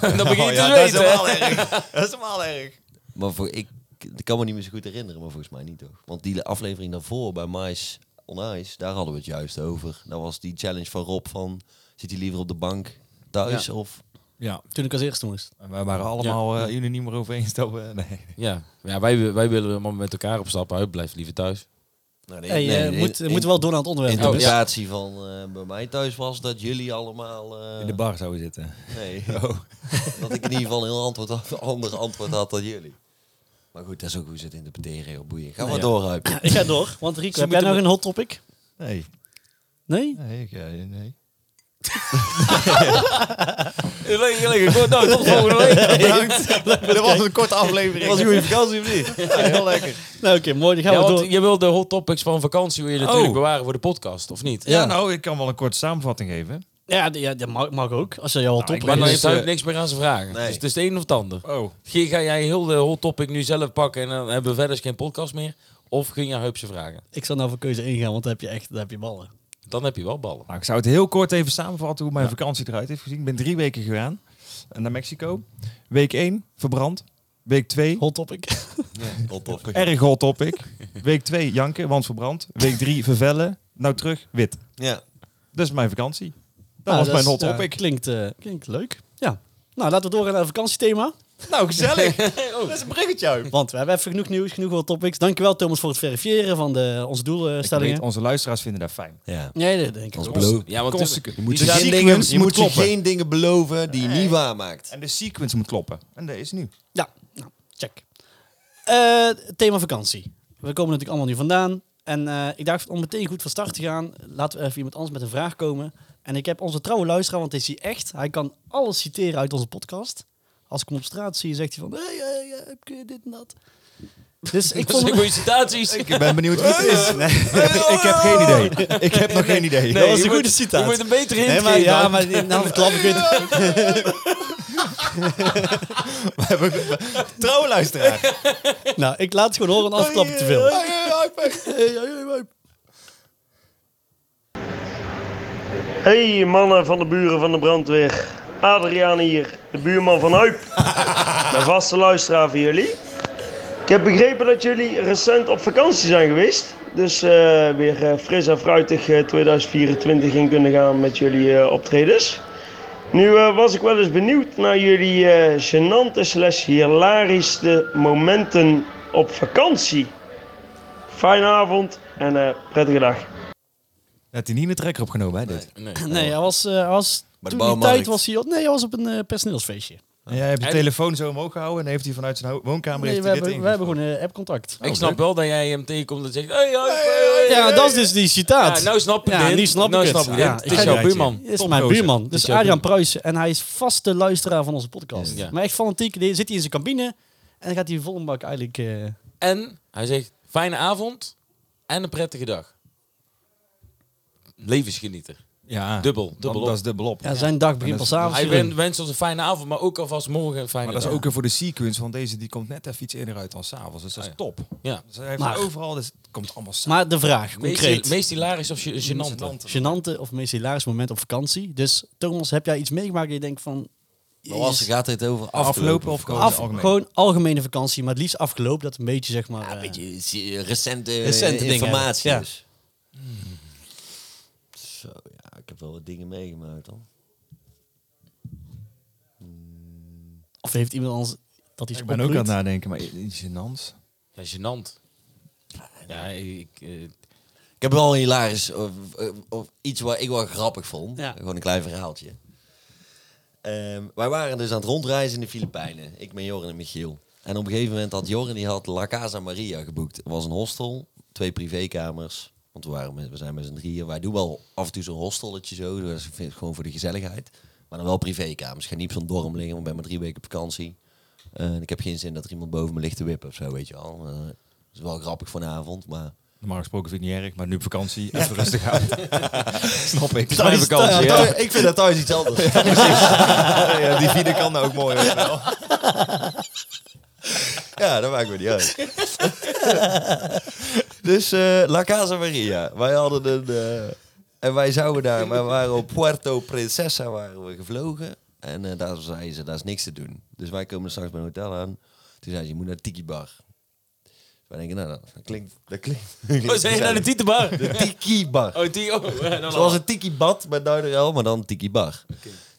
S4: Dan begin je
S5: Oh
S4: te
S5: ja, dat is
S4: zweten. hè?
S5: wel erg. Dat is wel erg.
S2: Maar voor, ik, ik kan me niet meer zo goed herinneren, maar volgens mij niet toch? Want die aflevering daarvoor bij Mais on Ice, daar hadden we het juist over. Dat was die challenge van Rob van, zit hij liever op de bank thuis of...
S5: Ja,
S3: Toen ik als eerste moest.
S5: en wij waren allemaal eh, unaniem erover eens dat we... Nee.
S4: Ja, ja wij, wij willen allemaal met elkaar op stap uit. Blijf liever thuis.
S2: Nou,
S3: Hey, eh, moet, moet wel Oh, door naar het onderwerp.
S4: in-
S3: jongens.
S2: interpretatie van eh, bij mij thuis was dat jullie allemaal... eh,
S5: In de bar zouden zitten.
S2: Nee, oh, dat ik in ieder geval een heel antwoord had, een ander antwoord had dan jullie. Maar goed, dat is ook hoe ze het interpreteren, heel boeiend. Ga maar
S3: ja.
S2: door, Huip.
S3: Ik ga door, want Rico, heb jij nog een hot topic?
S5: Nee.
S3: Nee?
S5: Nee, ik, eh, nee.
S4: Lekker, lekker. Goed, nou, tot volgende week.
S2: Bedankt. Dat was een korte aflevering. was een goede vakantie of niet? Ja, heel lekker.
S3: Nou, oké, mooi. Dan gaan
S4: Ja,
S3: we
S4: want
S3: door.
S4: je wil de hot topics van vakantie wil je natuurlijk
S5: Oh.
S4: bewaren voor de podcast, of niet?
S5: Ja, nou, ik kan wel een korte samenvatting geven.
S3: Ja, die- ja, dat mag, mag ook. Als je jou al top
S5: ik
S4: Maar
S5: ben
S4: dan
S5: Dus,
S4: heeft hij
S5: eh,
S4: ook niks meer aan zijn vragen.
S2: nee.
S4: Dus het is het een of het ander.
S5: Oh,
S4: Ga ga jij heel de hot topic nu zelf pakken en dan hebben we verder geen podcast meer? Of ging jij Huip ze vragen?
S3: Ik zal nou voor keuze ingaan, want dan heb je echt dan heb je ballen.
S4: Dan heb je wel ballen.
S5: nou, ik zou het heel kort even samenvatten hoe mijn vakantie eruit heeft gezien. Ik ben drie weken gegaan eh, naar Mexico. Week 1, verbrand. Week 2,
S3: Hot topic.
S2: Hot tof.
S5: erg hot topic. Week 2, janken, want verbrand. Week 3, vervellen. Nou terug, wit.
S2: Ja.
S5: Dat is mijn vakantie. Dat
S3: Nou,
S5: was mijn
S3: is-
S5: hot
S3: ja,
S5: topic.
S3: klinkt, eh, klinkt leuk. Ja. Nou, laten we doorgaan naar het vakantiethema.
S2: Nou, gezellig.
S3: Oh.
S2: Dat is een bruggetje uit.
S3: Want we hebben even genoeg nieuws, genoeg hot topics. Dankjewel Thomas voor het verifiëren van de, onze
S5: Ik weet,
S3: doelstellingen.
S5: onze luisteraars vinden dat fijn.
S2: Ja.
S3: Nee, dat denk ik
S2: Als
S3: ook.
S2: blow.
S4: Ja, want
S5: Constant-
S4: die
S5: je moet
S2: Je,
S5: je
S4: zijn-
S2: geen
S5: ziek
S2: dingen,
S5: mensen
S2: je
S5: moet
S2: moet je
S5: kloppen.
S2: geen dingen beloven die je niet waarmaakt.
S5: En de sequence moet kloppen. En dat is nu.
S3: Ja, nou, check. Eh, thema vakantie. We komen natuurlijk allemaal nu vandaan. En eh, ik dacht om meteen goed van start te gaan, laten we even iemand anders met een vraag komen. En ik heb onze trouwe luisteraar, want het is hij echt. Hij kan alles citeren uit onze podcast. Als ik hem op straat zie, zegt hij van, hey, hey, hey, heb je dit en dat. Dus ik
S4: Dat zijn
S3: vond...
S4: goede citaties.
S5: Ik ben benieuwd wie het is. ik heb geen idee. Ik heb nog geen idee.
S3: dat was
S4: je
S3: een goede
S4: moet-
S3: citaat.
S4: Je moet een betere hint
S3: Nee, maar,
S4: geven
S3: ja,
S4: dan.
S3: maar nou verklap ik het.
S2: Trouw luisteraar.
S3: Nou, ik laat het gewoon horen, anders verklap ik te veel.
S6: Hey mannen van de buren van de brandweer. Adriaan hier, de buurman van Huip. Mijn vaste luisteraar van jullie. Ik heb begrepen dat jullie recent op vakantie zijn geweest. Dus eh, weer eh, fris en fruitig eh, 2024 in kunnen gaan met jullie eh, optredens. Nu eh, was ik wel eens benieuwd naar jullie eh gênante slash hilarische momenten op vakantie. Fijne avond en eh, prettige dag.
S5: Had hij niet een trekker opgenomen, hè, dit?
S3: Nee, hij was... eh, hij was
S2: de
S3: toen die
S2: bouwmarkt.
S3: tijd was hij op... Nee, hij was op een eh, personeelsfeestje.
S5: En jij hebt je
S4: En-
S5: telefoon zo omhoog gehouden en heeft hij vanuit zijn ho- woonkamer
S3: Nee,
S5: heeft
S3: we
S5: hij
S3: hebben,
S5: dit
S3: we hebben gewoon eh, app-contact.
S4: Ik snap wel dat jij hem tegenkomt en zegt... Hey, Huip, hey, hey, Oh, hey.
S3: Ja, dat is dus die citaat.
S4: Ja, nou snap ik
S3: Ja,
S4: het.
S3: nu snap
S4: nou
S3: ik
S4: snap
S3: het.
S4: Ik
S3: Ja,
S4: het.
S3: ik
S4: is
S3: ga-
S4: jouw buurman.
S3: Dit is mijn
S5: Topgozer.
S3: buurman. Dus
S4: Dit is jouw
S3: Adriaan Pruisen. En hij is vaste luisteraar van onze podcast.
S4: Ja.
S3: Maar echt fanatiek. Die zit hij in zijn cabine. En dan gaat hij vol een bak eigenlijk... eh,
S4: En hij zegt, fijne avond en een prettige dag. Levensgenieter.
S5: Ja,
S4: Dubbel, dubbel
S5: dubbel
S4: op.
S5: dat is dubbel op.
S3: ja, zijn dag begint
S5: En
S3: pas
S5: dat is-
S3: avonds.
S4: Hij wen- wenst ons een fijne avond, maar ook alvast morgen een fijne
S5: Maar dat is
S4: dag.
S5: ook weer voor de sequence, want deze die komt net even iets eerder uit dan s'avonds. Dus dat is
S4: Ah,
S5: top.
S4: Ja.
S5: Dus hij heeft
S3: Maar-
S5: overal, dus het komt allemaal samen.
S3: Maar de vraag,
S4: Meest,
S3: concreet.
S4: meest hilarisch of ge- gênante.
S3: Genante of meest hilarisch moment op vakantie. Dus Thomas, heb jij iets meegemaakt dat je denkt van...
S2: Was gaat dit over
S5: Afgelopen of
S3: Af,
S5: gewoon algemeen?
S3: gewoon algemene vakantie, maar het liefst afgelopen. Dat een beetje, zeg maar...
S2: Ja, een
S3: eh,
S2: beetje eh, recente,
S3: Recente dingen,
S2: informatie.
S3: ja.
S2: dus. Zo, ja, ik heb wel wat dingen meegemaakt dan.
S3: Of heeft iemand anders dat iets
S5: Ik ben ook aan het
S3: opbloeit?
S5: nadenken, maar iets gênants.
S4: Ja, gênant. Ja, ik... eh,
S2: Ik heb wel een hilarisch, of, of- of iets wat ik wel grappig vond.
S3: Ja.
S2: Gewoon een klein verhaaltje. Ehm, wij waren dus aan het rondreizen in de Filipijnen. Ik ben Joren en Michiel. En op een gegeven moment had Joren die had La Casa Maria geboekt. Het was een hostel, twee privékamers. Want we, waren met, we zijn met z'n drieën. Wij doen wel af en toe zo'n hostelletje zo. Dat is vind- gewoon voor de gezelligheid. Maar dan wel privékamers. Ik ga niet op zo'n dorm liggen, want ik ben maar drie weken op vakantie. Eh, en ik heb geen zin dat er iemand boven me ligt te wippen of zo, weet je wel. Eh, Het is wel grappig voor een avond, maar...
S5: Normaal gesproken vind ik het niet erg, maar nu op vakantie, even rustig houden. Snap ik.
S3: Thuis-
S5: Mijn vakantie,
S3: thuis-
S5: ja.
S2: Ik vind dat thuis iets anders.
S5: Ja, Die vierde kan ook mooi. hoor.
S2: Ja, dat maakt me niet uit. dus eh, La Casa Maria. Wij hadden een... eh, en wij zouden daar... Wij waren op Puerto Princesa waren we gevlogen. En eh, daar zeiden ze, daar is niks te doen. Dus wij komen straks bij een hotel aan. Toen zei ze, je moet naar Tiki Bar. Wij denken, nou, dat dat klinkt... Dat klinkt
S4: Oh, zijn je naar de titelbar?
S2: Tiki Bar.
S4: Oh, die... Oh, eh, dan
S2: Zoals een tiki bad bij Duiderel, maar dan een tiki bar.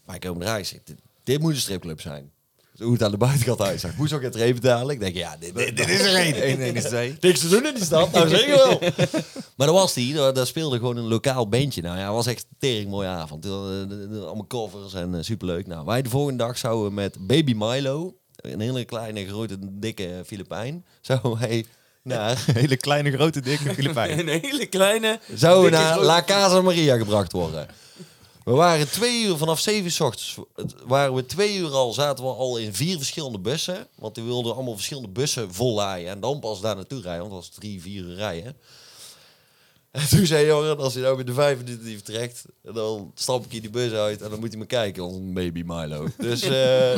S2: Maar ik kom eruit, ik zeg, dit, dit moet een stripclub zijn. Dus hoe het aan de buitenkant uitzag. Moest ook het reep betalen. Ik denk, ja, dit, dit, dit is er geen.
S5: Eén, één is twee.
S2: Niks te doen in die stad, nou zeker wel. maar dat was die, daar, daar speelde gewoon een lokaal bandje. Nou ja, het was echt een tering mooie avond. Eh, eh, eh, Allemaal covers en eh, superleuk. Nou, wij de volgende dag zouden we met Baby Milo, een hele kleine, grote, dikke Filipijn, zouden wij naar,
S5: Hele kleine, grote, dikke Filipijn.
S4: Een hele kleine...
S2: zouden we
S4: dikke
S2: naar
S4: grote-
S2: La Casa Maria gebracht worden. We waren twee uur vanaf zeven uur ochtends. het- Waren we twee uur al, zaten we al in vier verschillende bussen. Want die wilden allemaal verschillende bussen vollaaien. En dan pas daar naartoe rijden, want dat was drie, vier uur rijden. En toen zei Joran, als hij nou met de vijf minuten die vertrekt, dan stap ik in die bus uit en dan moet hij me kijken, onze baby Milo. Dus eh,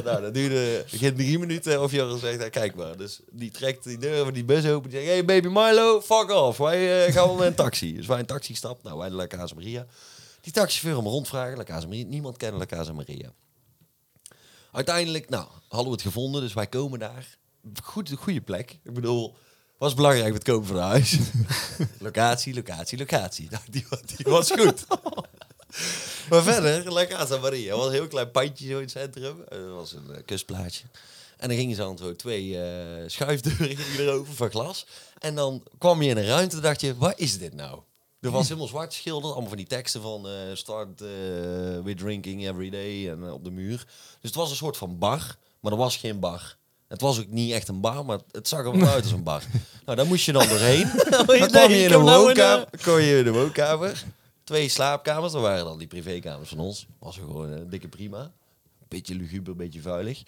S2: nou, dat duurde geen drie minuten of Joran zegt, nou, kijk maar. Dus die trekt die deur van die bus open en zegt, hey baby Milo, fuck off, wij eh, gaan wel naar een taxi. Dus wij in een taxi stapt, nou wij naar La Casa Maria. Die taxichauffeur hem rondvragen, La Casa Maria, niemand kende La Casa Maria. Uiteindelijk, nou, hadden we het gevonden, dus wij komen daar. Goed, goede plek. Ik bedoel, was belangrijk met het kopen van een huis. locatie, locatie, locatie. Nou, die, wa- die was goed. maar verder, La Casa Maria. was een heel klein pandje zo in het centrum. Eh, Dat was een eh, kustplaatje. En dan gingen ze aan zo twee eh, schuifdeuren gingen erover van glas. En dan kwam je in een ruimte en dacht je, wat is dit nou? Er was helemaal zwart geschilderd, allemaal van die teksten van eh, start eh, with drinking every day en eh, op de muur. Dus het was een soort van bar, maar er was geen bar. Het was ook niet echt een bar, maar het zag er wel uit als een bar. Nou, daar moest je dan doorheen. dan kwam je
S3: Oh,
S2: in
S3: ik kom
S2: een
S3: nou in,
S2: woonkamer. Kon je in de woonkamer. Twee slaapkamers, dat waren dan die privékamers van ons. Was gewoon een dikke prima. Beetje luguber, beetje vuilig.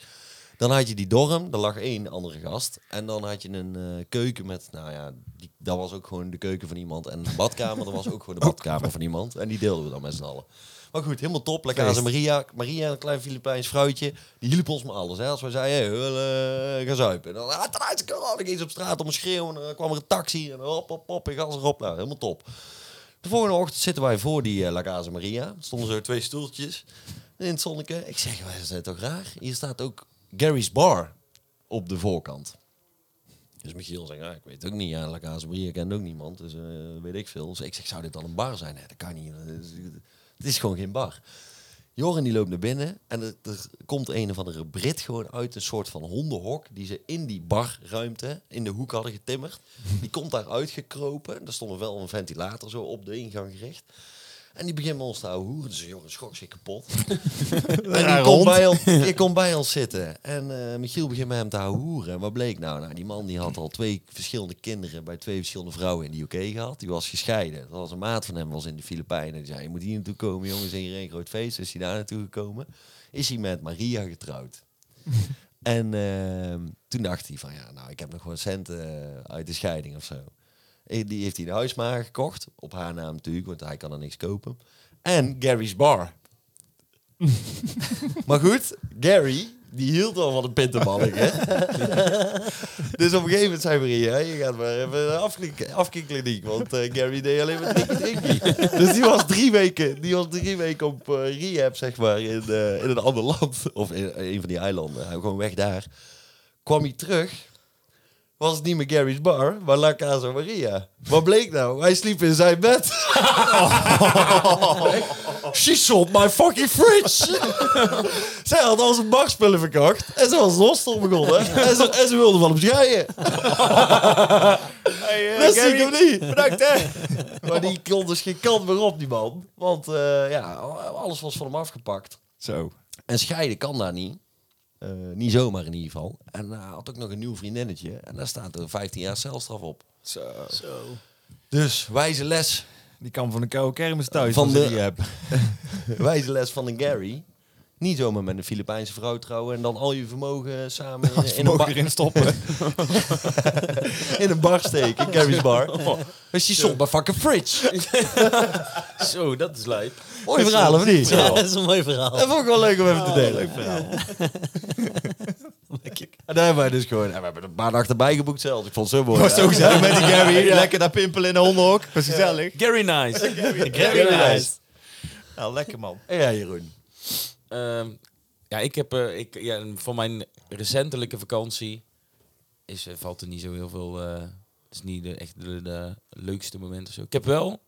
S2: Dan had je die dorm, daar lag één andere gast. En dan had je een eh, keuken met, nou ja, die, dat was ook gewoon de keuken van iemand. En een badkamer, dat was ook gewoon de badkamer van iemand. En die deelden we dan met z'n allen. Maar goed, helemaal top. Lekker aan Maria. Maria, een klein Filipijns vrouwtje. Die hielp ons met alles. Hè. Als wij zeiden, hey, we willen eh, gaan zuipen. En dan, ah, eruit, kan ik eens op straat om een schreeuw. En dan kwam er een taxi. En hop, hop, hop. Ik gas erop. Nou, helemaal top. De volgende ochtend zitten wij voor die eh, La Casa Maria. Er stonden zo twee stoeltjes in het zonneke. Ik zeg, wij zijn toch raar? Hier staat ook Gary's Bar op de voorkant. Dus Michiel zegt, ja, ik weet het ook niet. Ja, La Casa Maria kent ook niemand. Dus eh, weet ik veel. Dus ik zeg, zou dit dan een bar zijn? Nee, dat kan niet. Dat is- Het is gewoon geen bar. Joren die loopt naar binnen en er, er komt een of andere Brit gewoon uit een soort van hondenhok die ze in die barruimte in de hoek hadden getimmerd. Die komt daar uitgekropen. Daar stond wel een ventilator zo op de ingang gericht. En die begint met ons te ouwe hoeren. Dus Joren schrok zich kapot. en die komt, bij ons, die komt bij ons zitten. En eh, Michiel begint met hem te ouwe hoeren. En wat bleek nou? nou? Die man die had al twee verschillende kinderen bij twee verschillende vrouwen in de UK gehad. Die was gescheiden. Dat was een maat van hem, was in de Filipijnen. Die zei, je moet hier naartoe komen jongens, en hier een groot feest. Is hij daar naartoe gekomen. Is hij met Maria getrouwd. en ehm, toen dacht hij van, ja, nou, ik heb nog wel centen eh, uit de scheiding of zo. Eh, Die heeft hij de huismaker gekocht. Op haar naam natuurlijk, want hij kan er niks kopen. En Gary's Bar. maar goed, Gary, die hield al van een pintenbalk, hè? dus op een gegeven moment zei Maria, je gaat maar even naar afklik- afkikkliniek. Want eh, Gary deed alleen maar dikkie dikkie. dus die was drie weken, die was drie weken op eh, rehab, zeg maar, in, eh, in een ander land. Of in eh, een van die eilanden. Hij was gewoon weg daar. Kwam hij terug was het niet meer Gary's bar, maar La Casa Maria. Wat bleek nou? Wij sliepen in zijn bed. She sold my fucking fridge. Zij had al zijn barspullen verkocht. En ze was een hostel begonnen. En ze, en ze wilde van hem scheiden. Dat zie ik hem niet. Bedankt, hè. Maar die kon dus geen kant meer op, die man. Want eh, ja, alles was van hem afgepakt.
S5: Zo.
S2: En scheiden kan daar niet. Eh, niet zomaar in ieder geval. En hij had ook nog een nieuw vriendinnetje. En daar staat er 15 jaar celstraf op.
S5: Zo.
S2: Dus wijze les.
S5: Die kan van de koude kermis thuis.
S2: Van
S5: als je
S2: de-
S5: die hebt.
S2: wijze les van een Gary. Niet zomaar met een Filipijnse vrouw trouwen en dan al je vermogen samen in, in een,
S5: Mogen
S2: bar,
S5: erin stoppen.
S2: in een bar steken. Gary's bar. Dus die stond bij fucking fridge.
S4: Zo, dat is lijp.
S2: Mooi verhaal, of niet?
S3: Ja, dat is een mooi verhaal.
S2: Dat vond ik wel leuk om even te delen.
S3: Lekker.
S2: En daar hebben wij dus gewoon... En we hebben er een paar dagen bij geboekt zelfs. Ik vond het zo mooi.
S5: Zo zijn met die Gary. Lekker daar pimpelen in de hondenhok. Dat is gezellig.
S4: Gary Nice.
S2: Very nice.
S5: Nou, lekker man.
S2: Ja, Jeroen.
S4: Ehm, ja, ik heb eh, ik, ja, van mijn recentelijke vakantie is, eh, valt er niet zo heel veel. eh, Het is niet de, echt de, de leukste moment of zo. Ik heb wel.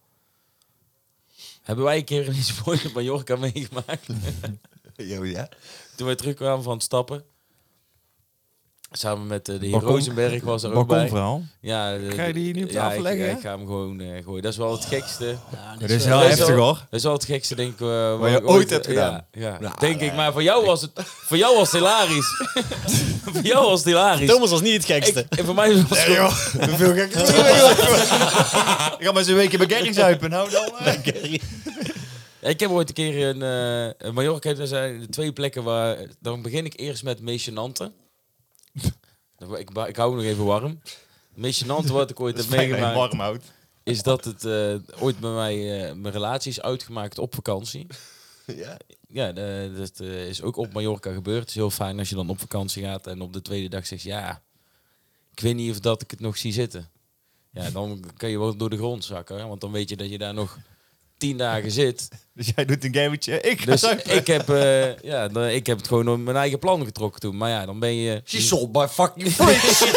S4: Hebben wij een keer een spoor op Mallorca meegemaakt?
S2: Jo, ja.
S4: Toen wij terugkwamen van het stappen. Samen met eh, de heer Rozenberg was er ook bij.
S5: Balkonverhaal.
S4: Ja, de-
S5: Ga je die hier nu op
S4: ja,
S5: tafel
S4: ik-
S5: leggen,
S4: Ik,
S5: hè?
S4: ga hem gewoon eh, gooien. Dat is wel het gekste.
S5: Dat is heel heftig hoor.
S4: Dat is wel het gekste, denk ik. eh, wat,
S5: je
S4: ik
S5: ooit hebt
S4: ja,
S5: gedaan.
S4: Ja,
S2: Nou,
S4: denk ik. Maar voor jou was het, voor jou was het hilarisch. voor jou was het hilarisch.
S3: Thomas was niet het gekste.
S4: Ik, en voor mij was het gewoon-
S2: Veel gekker.
S5: Ik ga maar eens een weekje bij Gary zuipen. Nou dan. eh.
S4: ja, Ik heb ooit een keer in eh Mallorca, daar zijn twee plekken waar... Dan begin ik eerst met meest gênante. Dan- ik, ba- ik hou me nog even warm. Het meest gênante wat ik ooit heb meegemaakt...
S7: warm houdt.
S4: is dat het eh, ooit bij mij eh, mijn relatie is uitgemaakt op vakantie.
S2: Ja.
S4: Ja, de- dat eh, is ook op Mallorca gebeurd. Het is heel fijn als je dan op vakantie gaat en op de tweede dag zegt, ja, ik weet niet of dat ik het nog zie zitten. Ja, dan kan je wel door de grond zakken, hè, want dan weet je dat je daar nog tien dagen zit.
S7: Dus jij doet een gametje. Ik ga
S4: Dus
S7: zuipen.
S4: ik heb, eh, ja, dan- ik heb het gewoon op mijn eigen plan getrokken toen. Maar ja, dan ben je...
S2: She sold
S4: Ah,
S2: by fucking freaks.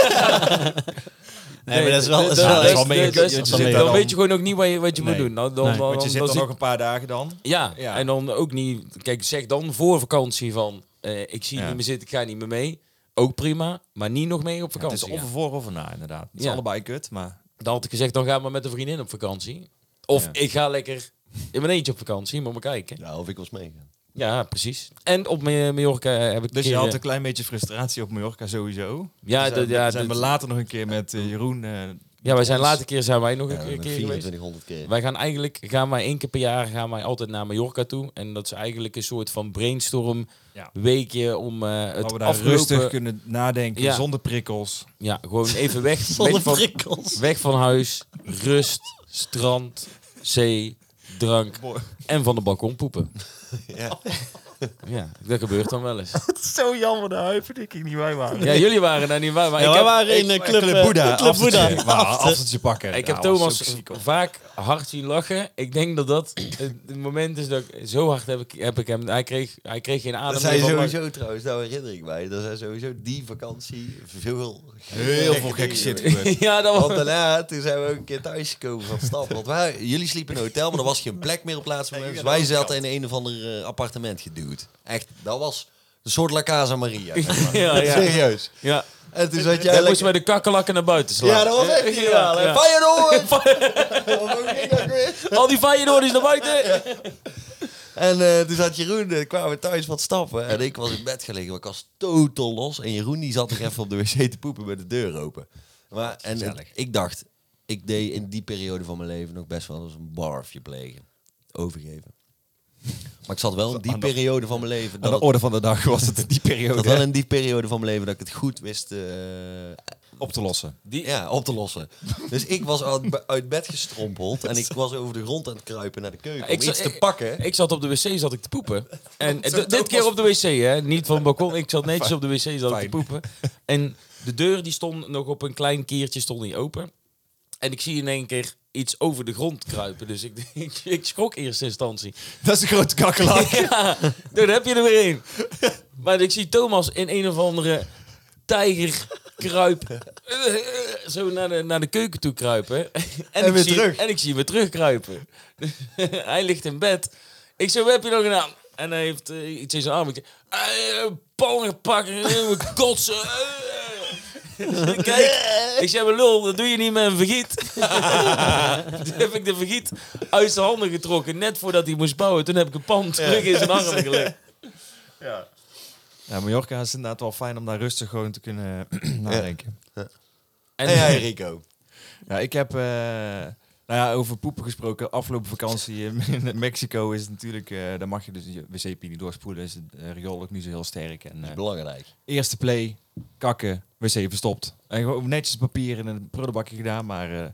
S3: Nee, maar dat is wel... Dat
S4: dat
S3: is wel
S5: dat is
S3: echt-
S5: mee-
S4: dat is-
S5: je
S3: zit daar
S4: Dan
S3: dan-
S4: weet je gewoon ook niet wat je, wat je moet
S3: Nee.
S4: doen. Nou, dan,
S3: Nee.
S4: dan,
S5: Want je
S4: dan
S5: zit er
S4: zit-
S5: nog een paar dagen dan.
S4: Ja,
S5: Ja.
S4: en dan ook niet... Kijk, zeg dan voor vakantie van... eh, ik zie
S5: Ja.
S4: niet meer zitten, ik ga niet meer mee. Ook prima, maar niet nog mee op
S5: Het is
S4: vakantie.
S5: of
S4: gaan.
S5: voor of na, inderdaad. Het is
S4: Ja.
S5: allebei kut, maar...
S4: Dan had ik gezegd, dan ga maar met een vriendin op vakantie. Of
S5: Ja.
S4: ik ga lekker in mijn eentje op vakantie, moet maar kijken.
S2: Ja, of ik was meegaan.
S4: Ja, precies. En op Ma- Mallorca heb ik...
S5: Dus je
S4: keer,
S5: had
S4: eh,
S5: een klein beetje frustratie op Mallorca sowieso.
S4: Ja,
S5: Toen zijn,
S4: dat- ja,
S5: zijn we
S4: dat-
S5: later nog een keer met eh, Jeroen. eh,
S4: ja, wij zijn later keer zijn wij nog
S2: Ja,
S4: een keer-
S2: met
S4: keer geweest. Ah,
S2: 2400 keer.
S4: Wij gaan eigenlijk, gaan wij één keer per jaar, gaan wij altijd naar Mallorca toe. En dat is eigenlijk een soort van brainstorm
S5: Ja.
S4: weekje om eh,
S5: dat we
S4: het
S5: daar
S4: afgelopen...
S5: rustig kunnen nadenken,
S4: Ja.
S5: zonder prikkels.
S4: Ja, gewoon even weg.
S3: Zonder
S4: weg, van,
S3: prikkels.
S4: weg van huis, rust, strand, zee, drank
S5: Mooi.
S4: en van de balkon poepen.
S2: Ja.
S4: Ja, dat gebeurt dan wel eens.
S7: Zo jammer, de huipen die ik niet bij waren.
S4: Ja, jullie waren daar niet waar, maar
S3: Ja,
S4: ik
S3: wij
S4: heb,
S3: waren in eh, Club eh,
S5: Boeddha,
S3: Club Boeddha.
S5: aftertje. Maar aftertje pakken.
S4: ik
S5: Ja,
S4: heb
S5: was ook
S4: Thomas
S5: ziek, hoor.
S4: vaak hard zien lachen. Ik denk dat dat het moment is dat ik zo hard heb ik, heb ik hem. Hij kreeg, hij kreeg geen adem.
S2: Dat
S4: meer
S2: zijn
S4: van
S2: sowieso trouwens, daar herinner ik mij. Dat zijn sowieso die vakantie veel
S5: Heel veel gekke shit gebeurd.
S4: lachen. Ja, dat
S2: Want
S4: was.
S2: daarna, toen zijn we ook een keer thuis gekomen van stap. Want wij, jullie sliepen in een hotel, maar er was geen plek meer op plaats. Dus wij zaten in een of ander eh, appartement geduwd. Echt, dat was een soort La Casa Maria. zeg maar.
S4: Ja, ja.
S2: Serieus.
S4: ja.
S2: En toen zat jij
S4: Hij moest
S2: lekker...
S4: met de kakkelakken naar buiten slaan.
S2: Ja, dat was echt
S4: Ja,
S2: ideaal. hè.
S4: ja.
S2: Feyenoord! Of hoe ging dat weer?
S4: Al die Feyenoorders naar buiten.
S2: En eh, toen zat Jeroen, eh, kwamen we thuis wat stappen. En ik was in bed gelegen, maar ik was totaal los. En Jeroen die zat nog even op de wc te poepen met de deur open. Maar, en het- ik dacht, ik deed in die periode van mijn leven nog best wel eens een barfje plegen. Overgeven. Maar ik zat wel in die periode van mijn leven...
S5: Aan
S2: Dat
S5: de
S2: het,
S5: orde van de dag was het in die
S2: ik zat
S5: periode
S2: wel
S5: hè,
S2: in die periode van mijn leven dat ik het goed wist eh,
S5: op te lossen.
S2: ja, op te lossen. Dus ik was uit, uit bed gestrompeld en ik was over de grond aan het kruipen naar de keuken
S4: Ik
S2: om
S4: zat-
S2: iets te pakken.
S4: Ik zat op de wc zat ik te poepen. En d- dit keer op de wc, hè? Niet van het balkon. Ik zat netjes op de wc zat ik te poepen. En de deur die stond nog op een klein kiertje stond niet open. En ik zie in één keer iets over de grond kruipen. Dus ik, ik, ik schrok in eerste instantie.
S5: Dat is een grote
S2: Oh,
S5: kakkelak.
S4: Ja, daar heb je er weer een. Maar ik zie Thomas in een of andere tijger kruip. eh, Zo naar de, naar de keuken toe kruipen. En, ik
S2: weer
S4: zie,
S2: terug.
S4: En ik zie hem weer terugkruipen. hij ligt in bed. Ik zo, wat heb je nog gedaan? En hij heeft eh, iets in zijn arm. Ik zeg, "Eh, pallen pakken, eh, kotsen. eh." Kijk, ik zeg, maar lul, dat doe je niet met een vergiet. Toen heb ik de vergiet uit zijn handen getrokken, net voordat hij moest bouwen. Toen heb ik een pan terug in zijn armen gelegd.
S5: Ja, Mallorca is inderdaad wel fijn om daar rustig gewoon te kunnen eh, nadenken.
S4: En
S2: En jij Rico?
S5: Ja, ik heb... eh, nou ja, over poepen gesproken. Afgelopen vakantie in Mexico is het natuurlijk... eh, daar mag je dus je wc-pie niet doorspoelen. Is het eh, riool ook niet zo heel sterk. En,
S2: Dat
S5: eh,
S2: is belangrijk.
S5: eerste play, kakken, wc verstopt. En gewoon netjes papier in een prullenbakje gedaan, maar eh,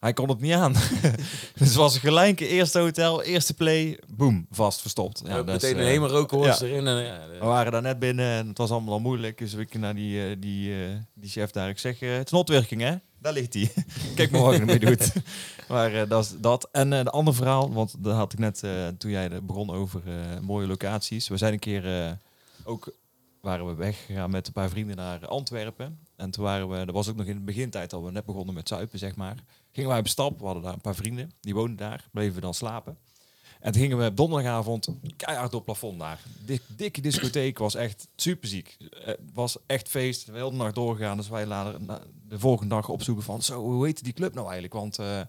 S5: hij kon het niet aan. dus het was gelijk, eerste hotel, eerste play, boem, vast verstopt.
S4: Ja,
S5: dat is,
S4: meteen een
S5: eh,
S4: hemelrookhorst
S5: ja.
S4: erin. eh, En, ja, de-
S5: we waren daar net binnen en het was allemaal al moeilijk. Dus ik naar die, eh, die, eh, die chef daar. Ik zeg, eh, het is een opwerking, hè? Daar ligt hij. Kijk maar wat je ermee doet. maar eh, dat is dat. En eh de andere verhaal, want daar had ik net, eh, toen jij er begon over eh, mooie locaties. We zijn een keer eh, ook, waren we weggegaan met een paar vrienden naar Antwerpen. En toen waren we, dat was ook nog in de begintijd al, we net begonnen met zuipen, zeg maar. Gingen wij op stap, we hadden daar een paar vrienden, die woonden daar, bleven we dan slapen. En toen gingen we op donderdagavond keihard door het plafond daar. Dik, dikke discotheek was echt superziek. Het was echt feest. We hebben de hele nacht doorgegaan. Dus wij later na- de volgende dag opzoeken van... Zo, hoe heet die club nou eigenlijk? Want eh,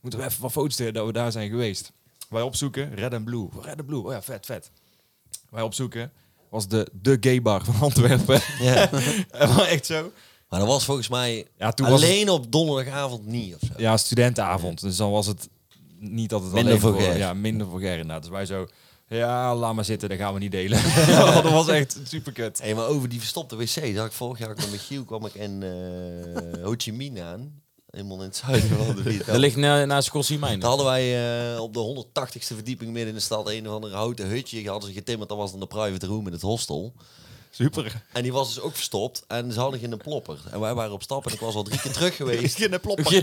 S5: moeten we even wat foto's delen dat we daar zijn geweest. Wij opzoeken Red and Blue. Red and Blue, oh ja, vet, vet. Wij opzoeken was de, de gay bar van Antwerpen. En maar echt zo.
S2: Maar dat was volgens mij
S5: Ja, toen was het-
S2: alleen op donderdagavond niet of zo.
S5: Ja, studentenavond. Dus dan was het niet dat het
S2: Minder
S5: alleen
S2: vulgair.
S5: Ja, minder vulgair inderdaad. Dus wij zo, ja, laat maar zitten, dat gaan we niet delen. dat was echt super kut.
S2: Hey, maar over die verstopte wc, zag ik vorig jaar, kwam met Giel kwam ik en eh, Ho Chi Minh aan. Helemaal in het zuiden van de Vietnam.
S4: Dat ligt na, naast Scottie Mijn.
S2: Toen hadden wij eh, op de 180ste verdieping midden in de stad een of andere houten hutje. Hadden ze getimmerd, dat was dan de private room in het hostel.
S5: Super.
S2: En die was dus ook verstopt en ze hadden geen plopper. En wij waren op stap en ik was al drie keer terug geweest.
S4: Begin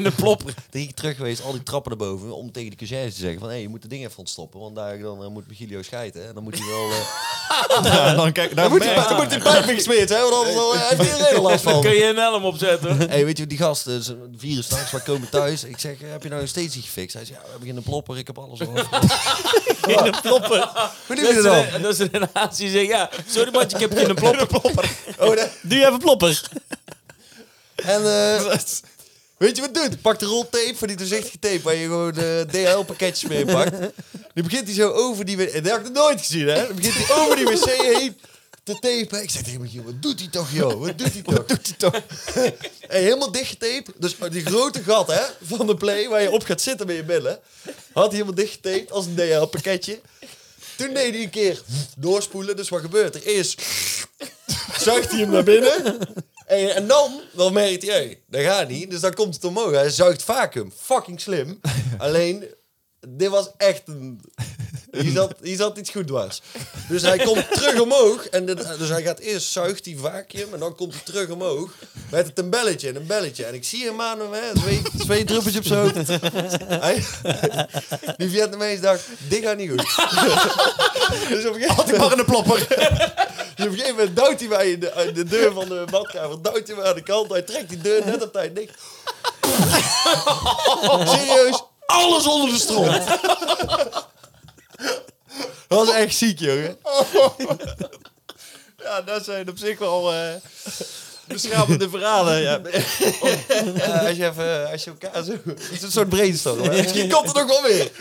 S4: de plopper.
S2: drie keer terug geweest, al die trappen naar boven, om tegen de conciërge te zeggen van, hé, je moet de ding even ontstoppen, want daar, dan eh, moet Gilio scheiden. hè. En dan moet hij wel... eh
S5: Ja, dan kijk, dan
S2: moet hij moet die pijp gesmeerd, hè, want anders eh, heeft iedereen er last
S4: Dan
S2: van.
S4: kun je een helm opzetten.
S2: Hé, weet je, die gast, eh, is een virus straks, wij komen thuis. Ik zeg, heb je nou nog steeds niet gefixt? Hij zegt, ja, we hebben geen plopper, ik heb alles al.
S3: de ploppen.
S2: Hoe doe
S4: Dat
S2: je
S4: is,
S2: dat
S4: een, dat is een nazi zegt, ja, sorry man, ik heb geen plopper.
S2: dan? Oh, nee.
S3: Doe jij even plopper?
S2: En eh, weet je wat het doet? Pak de rol tape van die doorzichtige tape waar je gewoon eh, DHL-pakketjes mee pakt. Nu begint hij zo over die wc. En dat had ik nog nooit gezien, hè? Dan begint hij over die wc heen te tapen. Ik zeg tegen mijn Giel, wat doet hij toch, joh? Wat doet hij toch? Wat doet hij toch? en helemaal dichtgetaped. Dus die grote gat, hè, van de play waar je op gaat zitten met je billen. Had hij helemaal dichtgetaped als een DHL-pakketje. Toen deed hij een keer doorspoelen. Dus wat gebeurt er? Eerst zuigt hij hem naar binnen. En, en dan, dan merkt hij, hey, dat gaat niet. Dus dan komt het omhoog. Hij zuigt vacuüm. Fucking slim. Alleen, dit was echt een... Hier zat, hier zat iets goed dwars. Dus hij komt terug omhoog. En de- dus hij gaat eerst zuigt die vacuüm. En dan komt hij terug omhoog. Met het een belletje en een belletje. En ik zie hem aan hem, hè, twee, twee druppeltjes op zijn hoofd. Hij, die Vietnamees dacht, dit gaat niet goed. dus op een gegeven moment... maar een plopper. Dus op een gegeven moment duwt hij mij in de, in de deur van de badkamer. Duwt hij mij aan de kant. Hij trekt die deur net op tijd dicht. Serieus, alles onder de stront. Dat was echt ziek, jongen.
S5: Ja, dat zijn op zich wel eh, beschamende verhalen. Ja.
S2: Ja, als, je even, eh, als je elkaar zo... Het is een soort brainstorm. hè. Misschien komt het ook wel weer.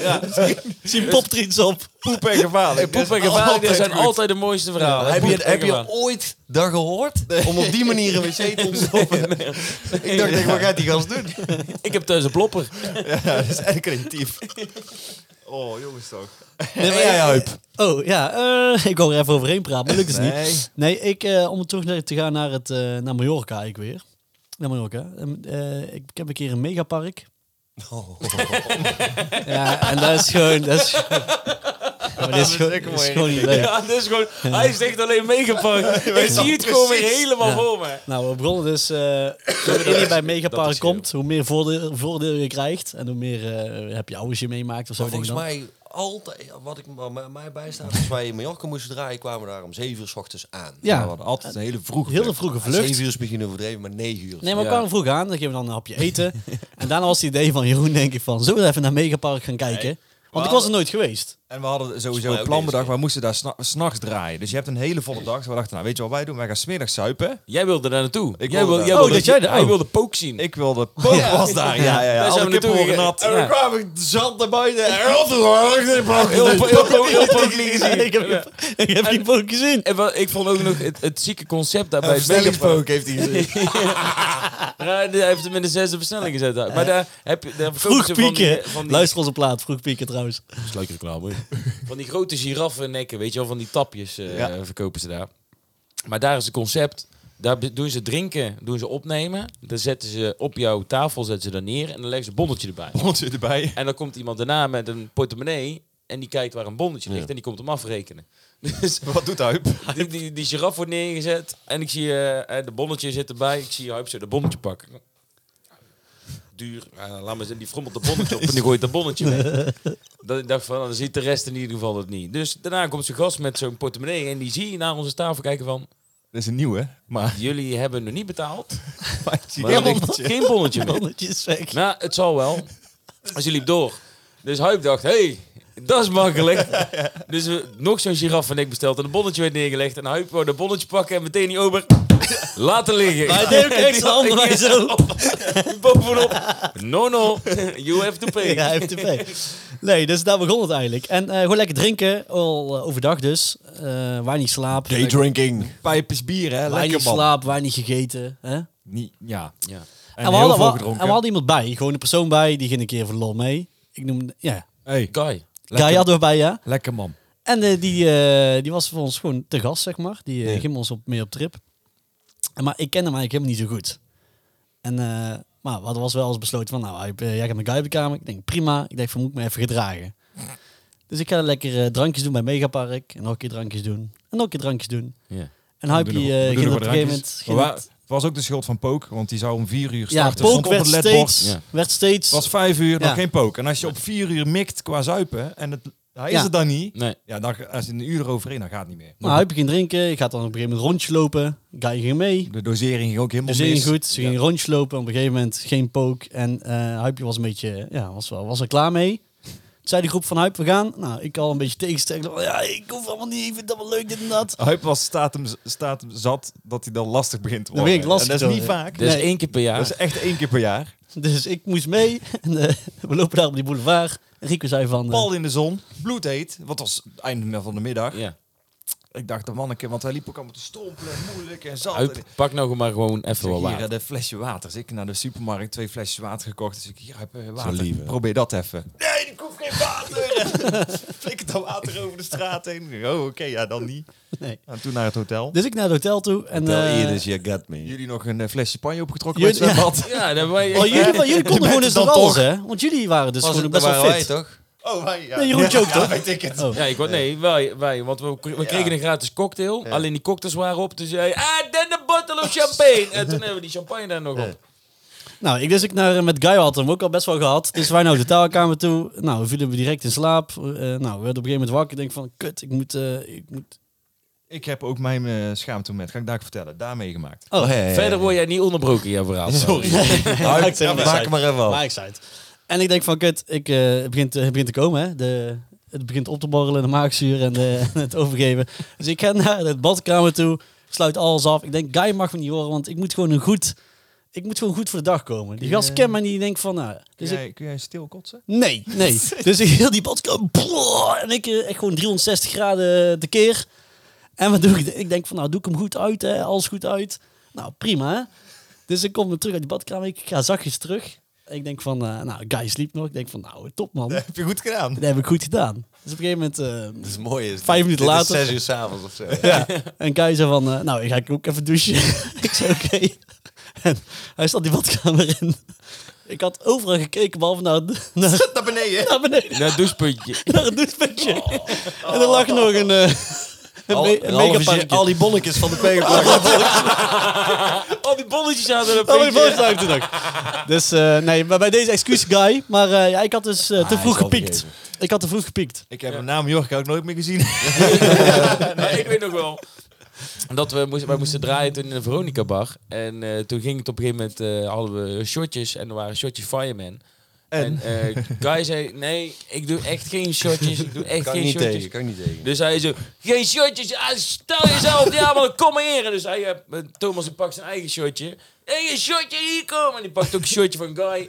S3: Misschien popt er iets op.
S5: Poep en gevaarlijk.
S4: Poep en gevaarlijk, dat zijn altijd de mooiste verhalen.
S2: heb,
S4: Poep
S2: je,
S4: en
S2: heb je
S4: gevaarlijk.
S2: ooit dat gehoord? Om op die manier een wc te ontstoppen? Ik dacht, echt, wat gaat die gast doen?
S4: Ik heb thuis een plopper.
S5: Ja, dat is echt creatief. Oh, jongens toch.
S3: Oh ja, eh, ik wou er even overheen praten, maar lukt het
S5: Nee.
S3: niet. Nee, ik, eh, om terug naar- te gaan naar, het, eh, naar Mallorca, ik weer. Naar Mallorca. Ehm, eh, ik, ik heb een keer een megapark. ja, en dat is gewoon... Dat is, gewoon- maar dit is, gewoon,
S5: echt een
S3: dit is
S5: mooie
S3: gewoon niet leuk.
S4: Ja, dat is gewoon, hij is echt alleen meegepakt. Ik zie het gewoon weer helemaal voor me.
S3: Nou, we begonnen dus... eh hoe eerder je bij megapark komt, hoe meer voordeel, voordeel je krijgt. En hoe meer eh, heb je ouders je meemaakt of zo.
S2: Maar
S3: denk ik
S2: volgens
S3: dan.
S2: mij altijd, wat ik wat mij- mij bijstaat, als wij in Mallorca moesten draaien, kwamen we daar om 7 uur s ochtends aan.
S5: Ja,
S3: Ja,
S5: we hadden altijd een hele vroeg.
S3: heel de vroege vlucht.
S2: 7 uur is begin overdreven, maar 9 uur.
S3: Nee, maar we kwamen vroeg aan. Dan geven we dan een hapje eten. en daarna was het idee van Jeroen, denk ik, van... Zullen we even naar Megapark gaan kijken? Want ik was er nooit geweest.
S5: En we hadden sowieso
S2: mij
S5: een
S2: ook
S5: plan
S2: deze
S5: bedacht.
S2: keer.
S5: We moesten daar sna- s'nachts draaien. Dus je hebt een hele volle dag. Dus we dachten, nou weet je wat wij doen? Wij gaan smiddags zuipen.
S4: Jij wilde daar naartoe.
S5: Ik
S4: jij
S5: wilde daar-
S4: jij
S5: Oh,
S4: wilde,
S3: dat jij daar-
S4: Hij
S3: oh.
S4: wilde pook zien.
S5: Ik wilde... Poop was daar. Ja, ja, ja.
S4: Daar zijn
S5: Alle
S4: we naartoe
S5: kippenhoren
S4: gegaan.
S5: nat.
S2: En dan
S5: Ja.
S2: kwam ik zand naar buiten. En rot er gewoon, ik neem ook
S4: Heel,
S2: niet.
S4: po- heel, po- heel pook zien.
S3: ik heb, ik heb die boek gezien.
S4: En wel, ik vond ook nog het, het zieke concept daarbij.
S2: Een
S4: het megapark.
S2: versnellingspook heeft hij gezien.
S4: Ja, Hij heeft hem in de zesde versnelling gezet. daar. Maar daar heb je... Daar verkopen
S3: Vroeg
S4: ze van die-
S3: pieken.
S4: Van die,
S3: Luister onze plaat, Vroeg pieken trouwens.
S4: Van die grote giraffennekken, weet je wel, van die tapjes eh,
S5: Ja.
S4: verkopen ze daar. Maar daar is het concept. Daar be- doen ze drinken, doen ze opnemen. Dan zetten ze op jouw tafel, zetten ze dan neer en dan leggen ze een bonnetje erbij.
S5: Ons zit erbij.
S4: En dan komt iemand daarna met een portemonnee en die kijkt waar een bonnetje ligt en die komt hem afrekenen. Dus
S5: Wat doet Huip?
S4: die, die, die giraf wordt neergezet en ik zie eh, eh, de bonnetje zit erbij. Ik zie Huip zo de bonnetje pakken. Duur, eh, laat maar zitten, die frommelt de bonnetje op en die gooit dat bonnetje weg. Dan ik dacht van, nou, dan ziet de rest in ieder geval het niet. Dus daarna komt zijn gast met zo'n portemonnee en die zie je naar onze tafel kijken van...
S5: Dat is een nieuwe, maar...
S4: Jullie hebben nog niet betaald, maar
S5: Ja,
S4: er ligt geen bonnetje meer.
S3: Bonnetjes weg.
S4: Nou, het zal wel. Dus die liep door. Dus Huip dacht, hey, dat is makkelijk. Dus we, nog zo'n giraf en ik besteld en een bonnetje werd neergelegd. En Huip wou de bonnetje pakken en meteen die ober laten liggen.
S3: Maar hij deed ook
S4: En
S3: echt
S4: die
S3: zijn handen
S4: had-
S3: bij zo.
S4: Bovenop. No, no. You have to pay.
S3: Ja, FTP. Nee, dus daar begon het eigenlijk. En eh, gewoon lekker drinken, al eh, overdag dus. Eh waar niet slapen.
S2: drinking.
S5: Pijpjes bier, hè?
S3: Waar niet
S5: Lekker, man.
S3: slapen, waar niet gegeten. Hè?
S5: Niet, ja.
S4: Ja.
S5: En,
S3: En,
S5: heel
S3: we
S5: veel
S3: hadden, we, en we
S5: gedronken.
S3: hadden iemand bij, gewoon een persoon bij, die ging een keer voor de lol mee. ik noem, ja.
S5: Hey,
S4: Guy.
S3: Guy hadden we bij, ja.
S5: lekker man.
S3: En eh, die, eh, die was voor ons gewoon te gast, zeg maar. Die eh, ging ons op, mee op trip. En, maar ik kende hem eigenlijk helemaal niet zo goed. En, eh, maar wat was wel eens besloten van, nou, Huip, eh, jij gaat met Guy op de kamer. Ik denk, prima. Ik denk, van, moet ik me even gedragen. Dus ik ga lekker eh, drankjes doen bij Megapark. En nog een keer drankjes doen. En nog een keer drankjes doen.
S4: Ja.
S3: En Huip die eh, ging op een gegeven moment... ging
S5: Maar wa-
S3: het-
S5: Het was ook de schuld van Pook, want die zou om vier uur
S3: ja,
S5: starten. stond
S3: Polk
S5: op
S3: werd
S5: het ledbord.
S3: steeds,
S4: Ja.
S3: werd steeds...
S5: Het was vijf uur, nog
S3: Ja.
S5: geen Pook. En als je op vier uur mikt qua zuipen en het, hij
S3: Ja.
S5: is er dan niet,
S4: Nee.
S5: ja, dan, als je een uur eroverheen, dan gaat het niet meer.
S3: Nou, Huip ging drinken. Ik ga dan op een gegeven moment rondje lopen. Guy ging mee.
S5: De dosering ging ook helemaal
S3: Dus ging
S5: mis.
S3: goed. Ze
S5: Ja.
S3: ging een rondje lopen. Op een gegeven moment geen pook. En eh Huipje was een beetje, ja, was, wel, was er klaar mee. Toen zei de groep van Huip, we gaan. Nou, ik al een beetje tegenstrekken. Van, Ja, ik hoef allemaal niet. Ik vind dat wel leuk, dit en dat.
S5: Huip was staat hem, staat hem zat dat hij dan lastig begint te
S3: Dan
S5: worden.
S3: ben ik lastig
S5: en dat is niet
S3: te worden.
S5: vaak.
S4: Dat is
S3: Nee.
S4: één keer per jaar.
S5: Dat is echt één keer per jaar.
S3: Dus ik moest mee. En, eh, we lopen daar op die boulevard. En Rico zei van... eh,
S5: Pal in de zon, bloedheet. Wat was het einde van de middag.
S4: ja.
S5: Ik dacht, de manneke, want hij liep ook allemaal te strompelen en moeilijk en zat.
S4: Huip, pak nou maar gewoon even wel
S5: Zeg, hier,
S4: water.
S5: eh, de flesje water. Dus ik naar de supermarkt twee flesjes water gekocht. Dus ik hier heb eh,
S4: Zo lief,
S5: water.
S4: hè?
S5: Probeer dat even. Nee, ik hoef geen water. Flikker dan water over de straat heen. Ik dacht, Oh, oké, ja, dan niet.
S3: nee.
S5: En toen naar het hotel.
S3: Dus ik naar het hotel toe. En,
S2: Tel
S3: eh,
S2: hier dus, you got me.
S5: Jullie nog een eh, fles champagne opgetrokken
S3: Jullie-
S5: met zwembad.
S4: Ja, dat wij
S3: oh, jullie, jullie konden gewoon dus
S5: dan
S3: nog alles,
S5: toch?
S3: hè? Want jullie waren dus
S2: Was
S3: gewoon
S2: het,
S3: best
S2: dat
S3: wel
S2: waren wij
S3: fit.
S2: toch?
S5: Oh, wij, ja.
S3: Nee, Jeroen
S5: ja,
S3: joke toch?
S5: weet ik het.
S3: Oh.
S4: Ja, ik wou, nee, wij, wij, want we, we kregen een gratis cocktail. Alleen die cocktails waren op. Dus zei, ah, then a bottle of champagne. En toen hebben we die champagne daar nog op.
S3: Nou, ik dus ik naar, met Guy had hem ook al best wel gehad. Dus wij naar de hotelkamer toe. Nou, we vielen we direct in slaap. Eh, nou, we werden op een gegeven moment wakker. Ik denk van, kut, ik moet, eh, ik moet...
S5: Ik heb ook mijn eh, schaamtemoment, ga ik daar vertellen, daar meegemaakt.
S3: Oh,
S4: Verder word jij niet onderbroken in jouw verhaal. Sorry.
S3: Maakt helemaal
S2: Maak
S3: niks uit.
S2: hem maar even af.
S3: Maakt niks uit. En ik denk van, kut, ik, eh, het, begint, het begint te komen, hè. De, het begint op te borrelen, de maagzuur en de- het overgeven. Dus ik ga naar de badkamer toe, ik sluit alles af. Ik denk, Guy mag me niet horen, want ik moet gewoon een goed... Ik moet gewoon goed voor de dag komen. Die gast kent mij niet, die denkt van, nou...
S5: Kun,
S3: Dus ik,
S5: jij, kun jij stil kotsen?
S3: Nee, nee. dus ik heel die badkamer. brrr, En ik eh, echt gewoon 360 graden eh, de keer. En wat doe ik? Ik denk van nou, doe ik hem goed uit, hè? alles goed uit. Nou, prima. Hè? Dus ik kom weer terug uit die badkamer. Ik ga zachtjes terug. Ik denk van, eh, nou, guy sliep nog. Ik denk van, nou, top man.
S5: heb je goed gedaan.
S3: Dat heb ik goed gedaan. Dus op een gegeven moment... eh,
S2: Dat is mooi. Is
S3: Vijf minuten
S2: dit is
S3: later.
S2: zes uur s'avonds of zo.
S3: En Kai zei van, eh, nou, ik ga ook even douchen. ik zei, oké. En hij stond die badkamer in. Ik had overal gekeken, behalve naar, naar,
S2: Naar beneden.
S3: naar beneden.
S4: Naar het douchepuntje.
S3: Naar het douchepuntje. En er lag nog een, eh een,
S2: Oh. Al,
S3: me-
S2: een half uurtje, al die bonnetjes van de pegelplak.
S4: Al die bonnetjes hadden een
S3: Oh, die
S4: puntje.
S3: boot lag er nog. Dus eh, nee, maar bij deze excuus guy. Maar eh, ja, ik had dus eh, te
S2: Ah, hij
S3: vroeg
S2: is
S3: gepiekt.
S2: overgeven.
S3: Ik had te vroeg gepiekt.
S5: Ik heb hem na Mallorca ook nooit meer gezien.
S4: Maar ik weet nog wel. Dat we moesten, wij moesten draaien toen in de Veronica bar. En eh, toen ging het op een gegeven moment, eh, hadden we shotjes en er waren shotjes fireman. En, eh, Guy zei, nee, ik doe echt geen shotjes, ik doe echt
S2: Kan ik
S4: geen
S2: niet
S4: shotjes.
S2: tegen, kan ik niet tegen.
S4: Dus hij zo, geen shotjes, ah, stel jezelf niet aan, man, kom maar hier. En Dus hij, eh, Thomas die pakt zijn eigen shotje. hey, een shotje, hier komen. En die pakt ook een shotje van Guy.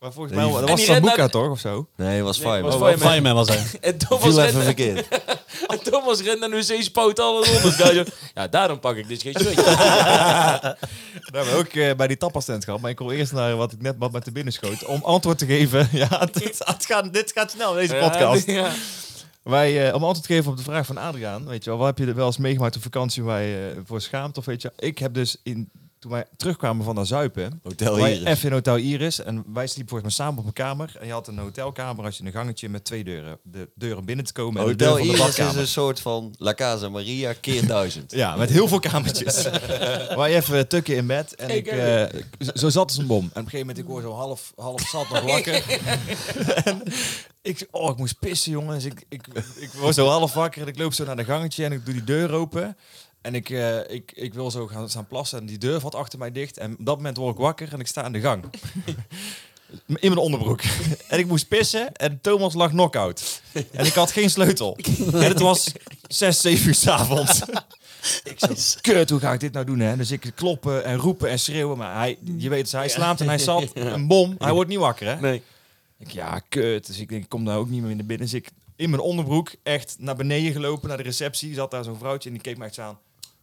S5: Maar volgens mij
S2: die-
S5: dat
S4: En
S5: was
S4: die redden-
S5: Sambuca toch, of zo?
S2: Nee, het was
S4: Nee,
S2: fijn.
S4: was
S2: man.
S4: Fireman.
S3: Fireman was hij.
S4: En Thomas
S2: Viel
S4: rent,
S2: even verkeerd.
S4: en Thomas rent naar de wc, spout alles om. Dus Guy zo, ja, daarom pak ik dus geen shotje.
S5: Daar hebben we ook eh, bij die tapastent gehad. Maar ik wil eerst naar wat ik net wat met de binnen schoot. Om antwoord te geven. Ja, dit, het gaat, dit gaat snel, deze podcast.
S4: Ja, ja.
S5: Wij, eh, om antwoord te geven op de vraag van Adriaan. Weet je wel, wat heb je er wel eens meegemaakt op vakantie waar je eh, voor schaamt? Of weet je, ik heb dus in, toen wij terugkwamen van dat zuipen.
S2: Hotel
S5: wij
S2: Iris.
S5: Even in Hotel Iris. En wij sliepen volgens mij samen op een kamer. En je had een hotelkamer als je een gangetje met twee deuren. De deuren binnen te komen en de deur
S2: Hotel
S5: van de
S2: Iris is
S5: badkamer.
S2: een soort van La Casa Maria keer duizend.
S5: Ja, met heel veel kamertjes. Wij even eh, tukken in bed. En ik, eh, zo zat als een bom. En op een gegeven moment, ik word zo half, half zat nog wakker. en ik, oh, ik moest pissen, jongen. Dus ik, ik, ik word zo half wakker en ik loop zo naar de gangetje en ik doe die deur open. En ik, eh, ik, ik wil zo gaan staan plassen en die deur valt achter mij dicht. En op dat moment word ik wakker en ik sta in de gang. In mijn onderbroek. En ik moest pissen en Thomas lag knock-out. En ik had geen sleutel. En het was 6, 7 uur s'avonds. Ik zo, kut, hoe ga ik dit nou doen, hè? Dus ik kloppen en roepen en schreeuwen. Maar hij, je weet, hij slaapt en hij zat. Een bom, hij wordt niet wakker, hè?
S4: Nee.
S5: Ik, ja, kut. Dus ik denk, ik kom daar ook niet meer naar binnen. Dus ik in mijn onderbroek echt naar beneden gelopen, naar de receptie. Zat daar zo'n vrouwtje en die keek mij echt zo aan.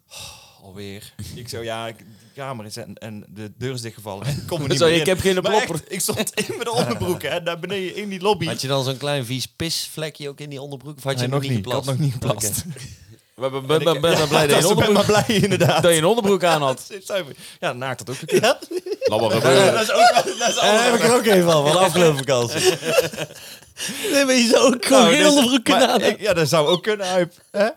S5: Oh, alweer. ik zo, ja, ik- die kamer is en, en de deur is dichtgevallen. Ik kom er niet
S4: Zo,
S5: meer
S4: ik
S5: in.
S4: heb geen
S5: Maar
S4: plopper.
S5: echt, ik stond in mijn onderbroek en daar beneden in die lobby.
S2: Had je dan zo'n klein vies pisvlekje ook in die onderbroek? Of had je
S5: Nee,
S2: nog, niet
S5: Ik had
S2: geplast?
S5: nog niet geplast.
S4: Ik ben, ben, ben, ben blij dat je, een
S5: Ik ben
S4: onderbroek,
S5: maar blij inderdaad.
S4: dat je een onderbroek aan had.
S5: Zuiver. Ja, naakt had ook gekund. Ja,
S4: Laat maar gebeuren.
S2: Daar heb ik er ook even van, van de afgelopen vakantie.
S3: Nee, maar je zou ook
S2: Nou,
S3: gewoon
S2: dus-
S3: geen onderbroek kunnen aan.
S5: Ja, dat zou ook kunnen, Huip. Hè?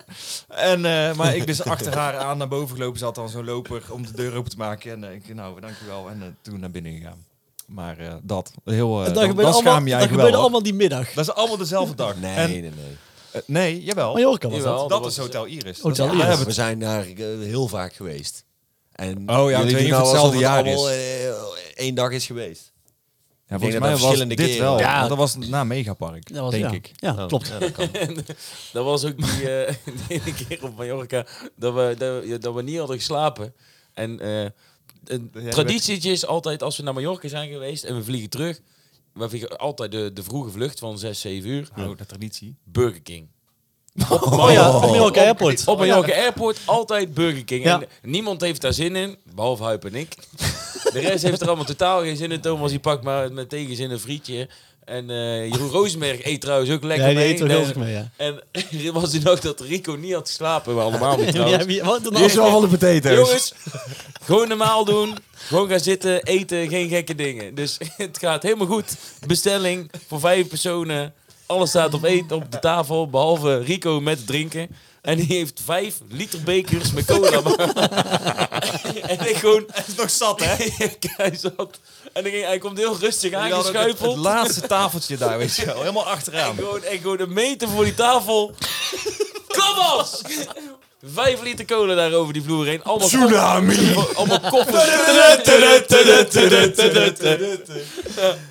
S5: En, eh, maar ik dus achter haar aan naar boven gelopen. Ze had dan zo'n loper om de deur open te maken. En eh, ik nou, dankjewel. En eh, toen naar binnen gegaan. Maar eh, dat, heel, eh,
S3: Dat
S5: dan,
S3: gebeurde,
S5: dan
S3: allemaal,
S5: schaam je je
S3: dat
S5: eigenlijk
S3: gebeurde
S5: wel. hoor.
S3: allemaal die middag.
S5: Dat is allemaal dezelfde dag.
S2: Nee,
S5: En-
S2: nee, nee.
S5: eh, nee, jawel.
S3: Mallorca was dat.
S4: Jawel.
S5: dat is Hotel Iris.
S3: Hotel
S5: Dat-
S3: Iris.
S5: daar hebben
S2: we zijn daar eh, heel vaak geweest. En
S5: Oh ja, ik weet
S2: jullie
S5: niet
S2: doen
S5: of
S2: nou
S5: het
S2: alsof
S5: hetzelfde jaar
S2: allemaal eh, één dag is geweest.
S5: Ja,
S2: Ik denk
S5: volgens
S2: dat
S5: mij
S2: dat
S5: was
S2: verschillende
S5: dit
S2: keren
S5: wel.
S2: was.
S5: want Dat was na Megapark,
S3: Dat was,
S5: denk
S3: ja.
S5: ik.
S3: Ja, klopt.
S4: Dat was ook die, eh, die ene keer op Mallorca dat we, dat, we- dat we niet hadden geslapen. En eh, een traditietje is altijd als we naar Mallorca zijn geweest en we vliegen terug. We vliegen altijd de, de vroege vlucht van 6, 7 uur.
S5: Oh, dat traditie.
S4: Burger King.
S3: Oh ja, op Mallorca
S5: Oh,
S3: Airport.
S4: Op Mallorca Airport altijd Burger King.
S3: Oh, Ja.
S4: En niemand heeft daar zin in, behalve Huip en ik. De rest heeft er allemaal totaal geen zin in. Thomas die pakt maar met tegenzin een frietje. En eh Jeroen Rozenberg eet trouwens ook lekker
S3: Ja, die
S4: mee.
S3: eet er heel erg mee, ja.
S4: En er was die dag dat Rico niet had geslapen. We allemaal niet
S3: Ja,
S4: trouwens.
S3: wie- wat dan
S4: Dit is wel
S3: allemaal?
S5: de potatoes.
S4: Jongens, gewoon normaal doen. Gewoon gaan zitten, eten, geen gekke dingen. Dus het gaat helemaal goed. Bestelling voor vijf personen. Alles staat op, eten, op de tafel, behalve Rico met drinken. En die heeft vijf liter bekers met cola. en ik gewoon... Hij is nog zat, hè? hij zat. En hij, ging- hij komt heel rustig
S5: Jullie hadden ook het, het
S4: aangeschuifeld.
S5: laatste tafeltje daar, weet je wel. Helemaal achteraan.
S4: En gewoon, en gewoon een meter voor die tafel. Kom ons! Vijf liter cola daar over die vloer heen. Allemaal Tsunami! Allemaal koffers.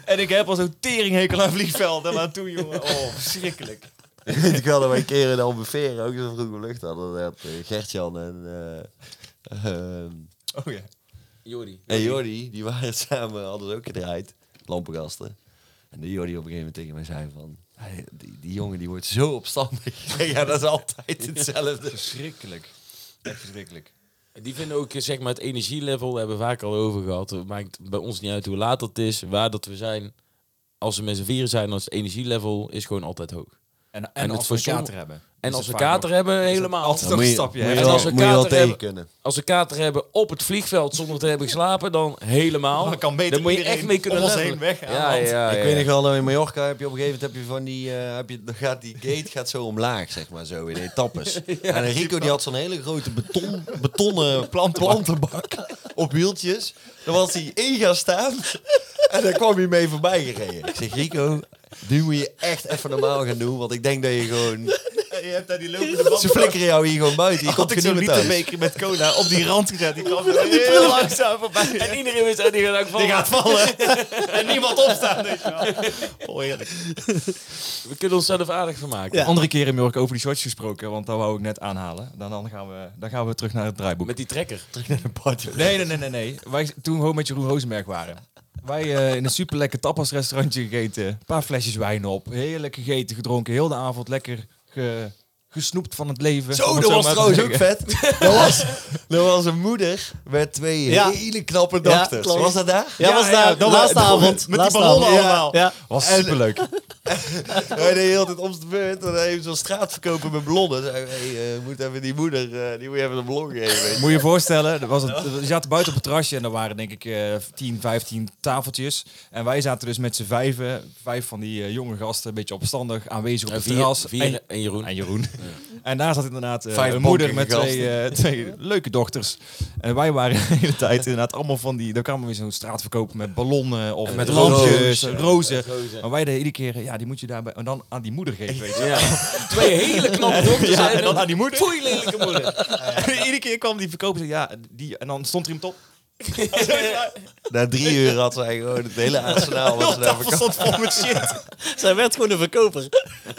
S5: En ik heb al zo'n teringhekel aan vliegvelden. Maar toen, jongen, oh, verschrikkelijk.
S2: ik wel dat wij een keer in Albufeira ook zo vroeg lucht hadden. Dat had, eh, Gertjan en, eh, ehm,
S5: Oh ja.
S4: Jordi.
S2: en Jordi, die waren samen, hadden ze ook gedraaid. Lampengasten. En de Jordi op een gegeven moment tegen mij zei van... "Hey, Die, die jongen die wordt zo opstandig. Ik zeg, ja, dat is altijd hetzelfde.
S5: Verschrikkelijk. Echt verschrikkelijk.
S4: Die vinden ook eh, zeg maar, het energielevel, daar hebben we vaak al over gehad. Het maakt bij ons niet uit hoe laat dat is, waar dat we zijn. Als we met z'n vieren zijn, dan is het energielevel is gewoon altijd hoog.
S5: En, en,
S4: het
S5: als we een
S4: verzon-
S5: kater hebben.
S4: En
S5: Is
S4: als we
S5: het vaak
S4: kater
S5: nog-
S4: hebben,
S5: is het
S4: helemaal.
S5: Altijd nog een stapje.
S2: moet je
S5: hè?
S4: En
S2: wel,
S4: als we
S2: moet je wel
S4: kater
S2: tegen
S4: hebben-
S2: kunnen.
S4: Als we kater hebben op het vliegveld zonder te hebben geslapen, dan helemaal.
S5: Dan kan beter
S4: Dan moet je
S5: iedereen
S4: echt mee kunnen
S5: om ons
S4: levelen.
S5: heen weg, hè,
S4: Ja,
S5: want-
S4: ja,
S2: ik
S4: ja.
S2: weet nog wel, dat in Mallorca heb je op een gegeven moment heb je van die, eh, heb je, dan gaat die gate gaat zo omlaag, zeg maar, zo in etappes. en Rico die had zo'n hele grote beton, betonnen plant, plantenbak op wieltjes. Dan was hij in gaan staan en daar kwam hij mee voorbij gereden. Ik zeg, Rico, nu moet je echt even normaal gaan doen, want ik denk dat je gewoon...
S5: Je hebt daar die lopende band.
S2: Ze flikkeren jou hier gewoon buiten, je komt
S5: Had ik
S2: er
S5: zo'n
S2: niet meer thuis.
S5: literbeker met cola op die rand gezet. Die kwam er heel langzaam voorbij.
S4: En iedereen wist dat die gaat ook
S5: Die
S4: vallen.
S5: gaat vallen. en niemand opstaan. Weet je wel. Oh, heerlijk.
S4: We kunnen onszelf aardig van maken.
S3: Ja.
S5: Andere keren heb ik over die shorts gesproken, want dat wou ik net aanhalen. Dan, dan, gaan, we, dan gaan we terug naar het draaiboek.
S4: Met die trekker.
S5: Nee, nee, nee, nee, nee. Wij toen gewoon met Jeroen Rozenberg waren. Wij eh, in een superlekker tapasrestaurantje gegeten. Een paar flesjes wijn op. Heerlijk gegeten, gedronken. Heel de avond lekker ge- gesnoept van het leven. om
S2: Zo,
S5: het
S2: dat was
S5: maar te
S2: trouwens ook
S5: zeggen.
S2: vet. Dat was, dat was een moeder met twee
S3: Ja.
S2: hele knappe
S3: Ja,
S2: dochters.
S3: klopt.
S2: was dat daar?
S3: Ja, was daar.
S5: dat
S3: laatste
S5: was-
S3: avond.
S5: Met
S3: laatste
S5: die ballonnen
S3: avond. Ja,
S5: allemaal.
S3: Ja.
S5: Was superleuk.
S2: Hij deed heel de tijd om de beurt en hij heeft zo'n straatverkoper met ballonnen. Zei, hey, eh, moet even die moeder, eh, die moet je even een ballon geven. weet je.
S5: Moet je je voorstellen, er was een, er- je zat buiten op het terrasje en er waren denk ik eh 10, 15 tafeltjes. En wij zaten dus met z'n vijven, vijf van die eh, jonge gasten, een beetje opstandig, aanwezig op het
S4: Eh, Vier,
S5: terras.
S4: vier
S5: En-
S4: en, Jeroen.
S5: En Jeroen. En daar zat inderdaad eh,
S2: Vijf
S5: een moeder met
S2: bonkige
S5: twee, eh, twee leuke dochters. En wij waren de hele tijd inderdaad allemaal van die... Daar kwamen we zo'n straatverkoop met ballonnen of
S4: met
S5: lampjes, rozen.
S4: rozen.
S5: Maar wij deden iedere keer... Ja, die moet je daarbij... En dan aan die moeder geven, weet je.
S4: Ja. Twee hele knappe dokters.
S5: Ja,
S4: en
S5: en dan
S4: een
S5: aan die moeder.
S4: foei lelijke moeder.
S5: En iedere keer kwam die verkoper en zei, ja, die... En dan stond er iemand op.
S2: Na drie uur had zij gewoon het hele arsenaal. Was daar verkocht.
S5: stond vol met shit.
S3: Zij werd gewoon een verkoper.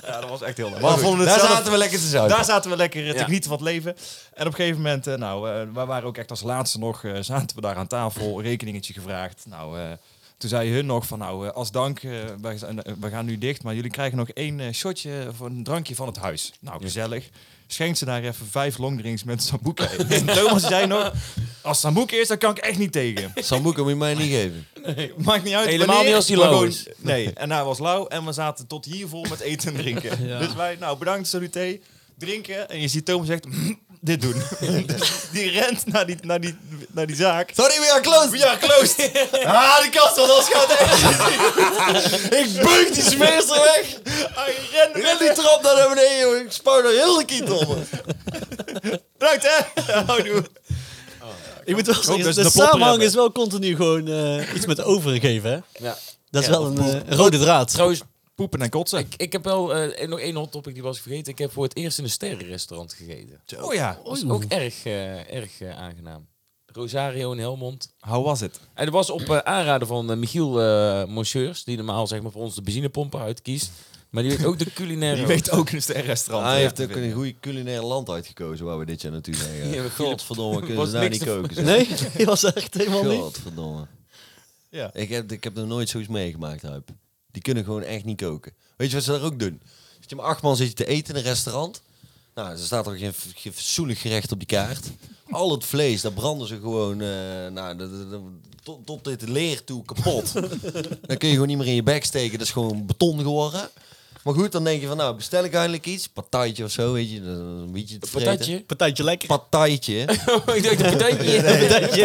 S5: Ja, dat was echt heel leuk.
S2: Maar vonden het
S5: Daar zaten
S2: zaten we lekker te
S5: we-
S2: zuipen.
S5: Daar zaten we lekker eh, te
S4: Ja.
S5: genieten van het leven. En op een gegeven moment, eh, nou, eh, wij waren ook echt als laatste nog, eh, zaten we daar aan tafel, rekeningetje gevraagd. Nou, eh, Toen zei hun nog van nou, eh, als dank, eh, wij zijn- eh, we gaan nu dicht, maar jullie krijgen nog één eh, shotje of een drankje van het huis. Nou, gezellig. Schenkt ze daar even vijf longdrinks met sambuca in. En Thomas zei nog, als sambuca is, dan kan ik echt niet tegen.
S2: Sambuca moet je mij niet geven.
S5: Maakt niet uit
S4: Helemaal
S5: wanneer,
S4: niet als die
S5: maar
S4: lauw
S5: gewoon-
S4: is.
S5: Nee, en hij was lauw en we zaten tot hier vol met eten en drinken. Dus wij, nou bedankt saluté, drinken. En je ziet Thomas echt, dit doen. Dus die rent naar die, naar die, naar die zaak.
S2: Sorry, we are closed. We are closed. ah, de kast was gaat echt. ik beuk die smeerster weg.
S5: Hij rende
S2: Ren die trap naar beneden, joh. Ik spouw daar heel de kiet om.
S5: Bedankt hè. Houdoe.
S3: Ik moet wel zeggen,
S5: dat ze
S3: de
S5: de popper
S3: samenhang
S5: hebben.
S3: is wel continu gewoon eh, iets met overgeven. Hè?
S4: Ja.
S3: Dat is
S4: Ja,
S3: wel een eh, rode draad.
S4: Trouwens,
S5: Poepen en kotsen.
S4: ik, ik heb wel eh, nog één hot topic die was ik vergeten. Ik heb voor het eerst in een sterrenrestaurant gegeten.
S5: oh ja.
S4: Dat was ook erg, eh, erg eh, aangenaam. Rosario in Helmond.
S5: Hoe was het?
S4: En dat was op eh, aanraden van eh, Michiel eh Monsieurs, die normaal zeg maar, voor ons de benzinepompen uitkiest. Maar die weet ook de culinaire...
S5: Je weet ook een sterrenrestaurant.
S2: Hij
S5: Ja,
S2: heeft
S5: dat
S2: ook
S5: weet
S2: een goed culinair land uitgekozen waar we dit jaar naartoe zijn.
S4: Ja,
S2: gegaan.
S4: maar
S2: Godverdomme, kunnen
S4: Was
S2: ze daar
S4: niks
S2: niet
S4: te-
S2: koken. zeg.
S3: Nee, die was er echt helemaal niet.
S2: Godverdomme.
S5: Ja.
S2: Ik, heb, ik heb nog nooit zoiets meegemaakt, Huip. Die kunnen gewoon echt niet koken. Weet je wat ze daar ook doen? Zit je met acht man zit je te eten in een restaurant. Nou, er staat er geen, geen fatsoenlijk gerecht op die kaart. Al het vlees, daar branden ze gewoon eh, nou, dat- dat- dat- tot, tot dit leer toe kapot. dan kun je gewoon niet meer in je bek steken. Dat is gewoon beton geworden. Maar goed, dan denk je van nou, bestel ik eindelijk iets. Partijtje of zo, weet je. dan- dan Een beetje te
S4: Een
S2: vreten.
S4: patatje?
S3: Partijtje lekker.
S2: Partijtje.
S4: ik dacht een patatje.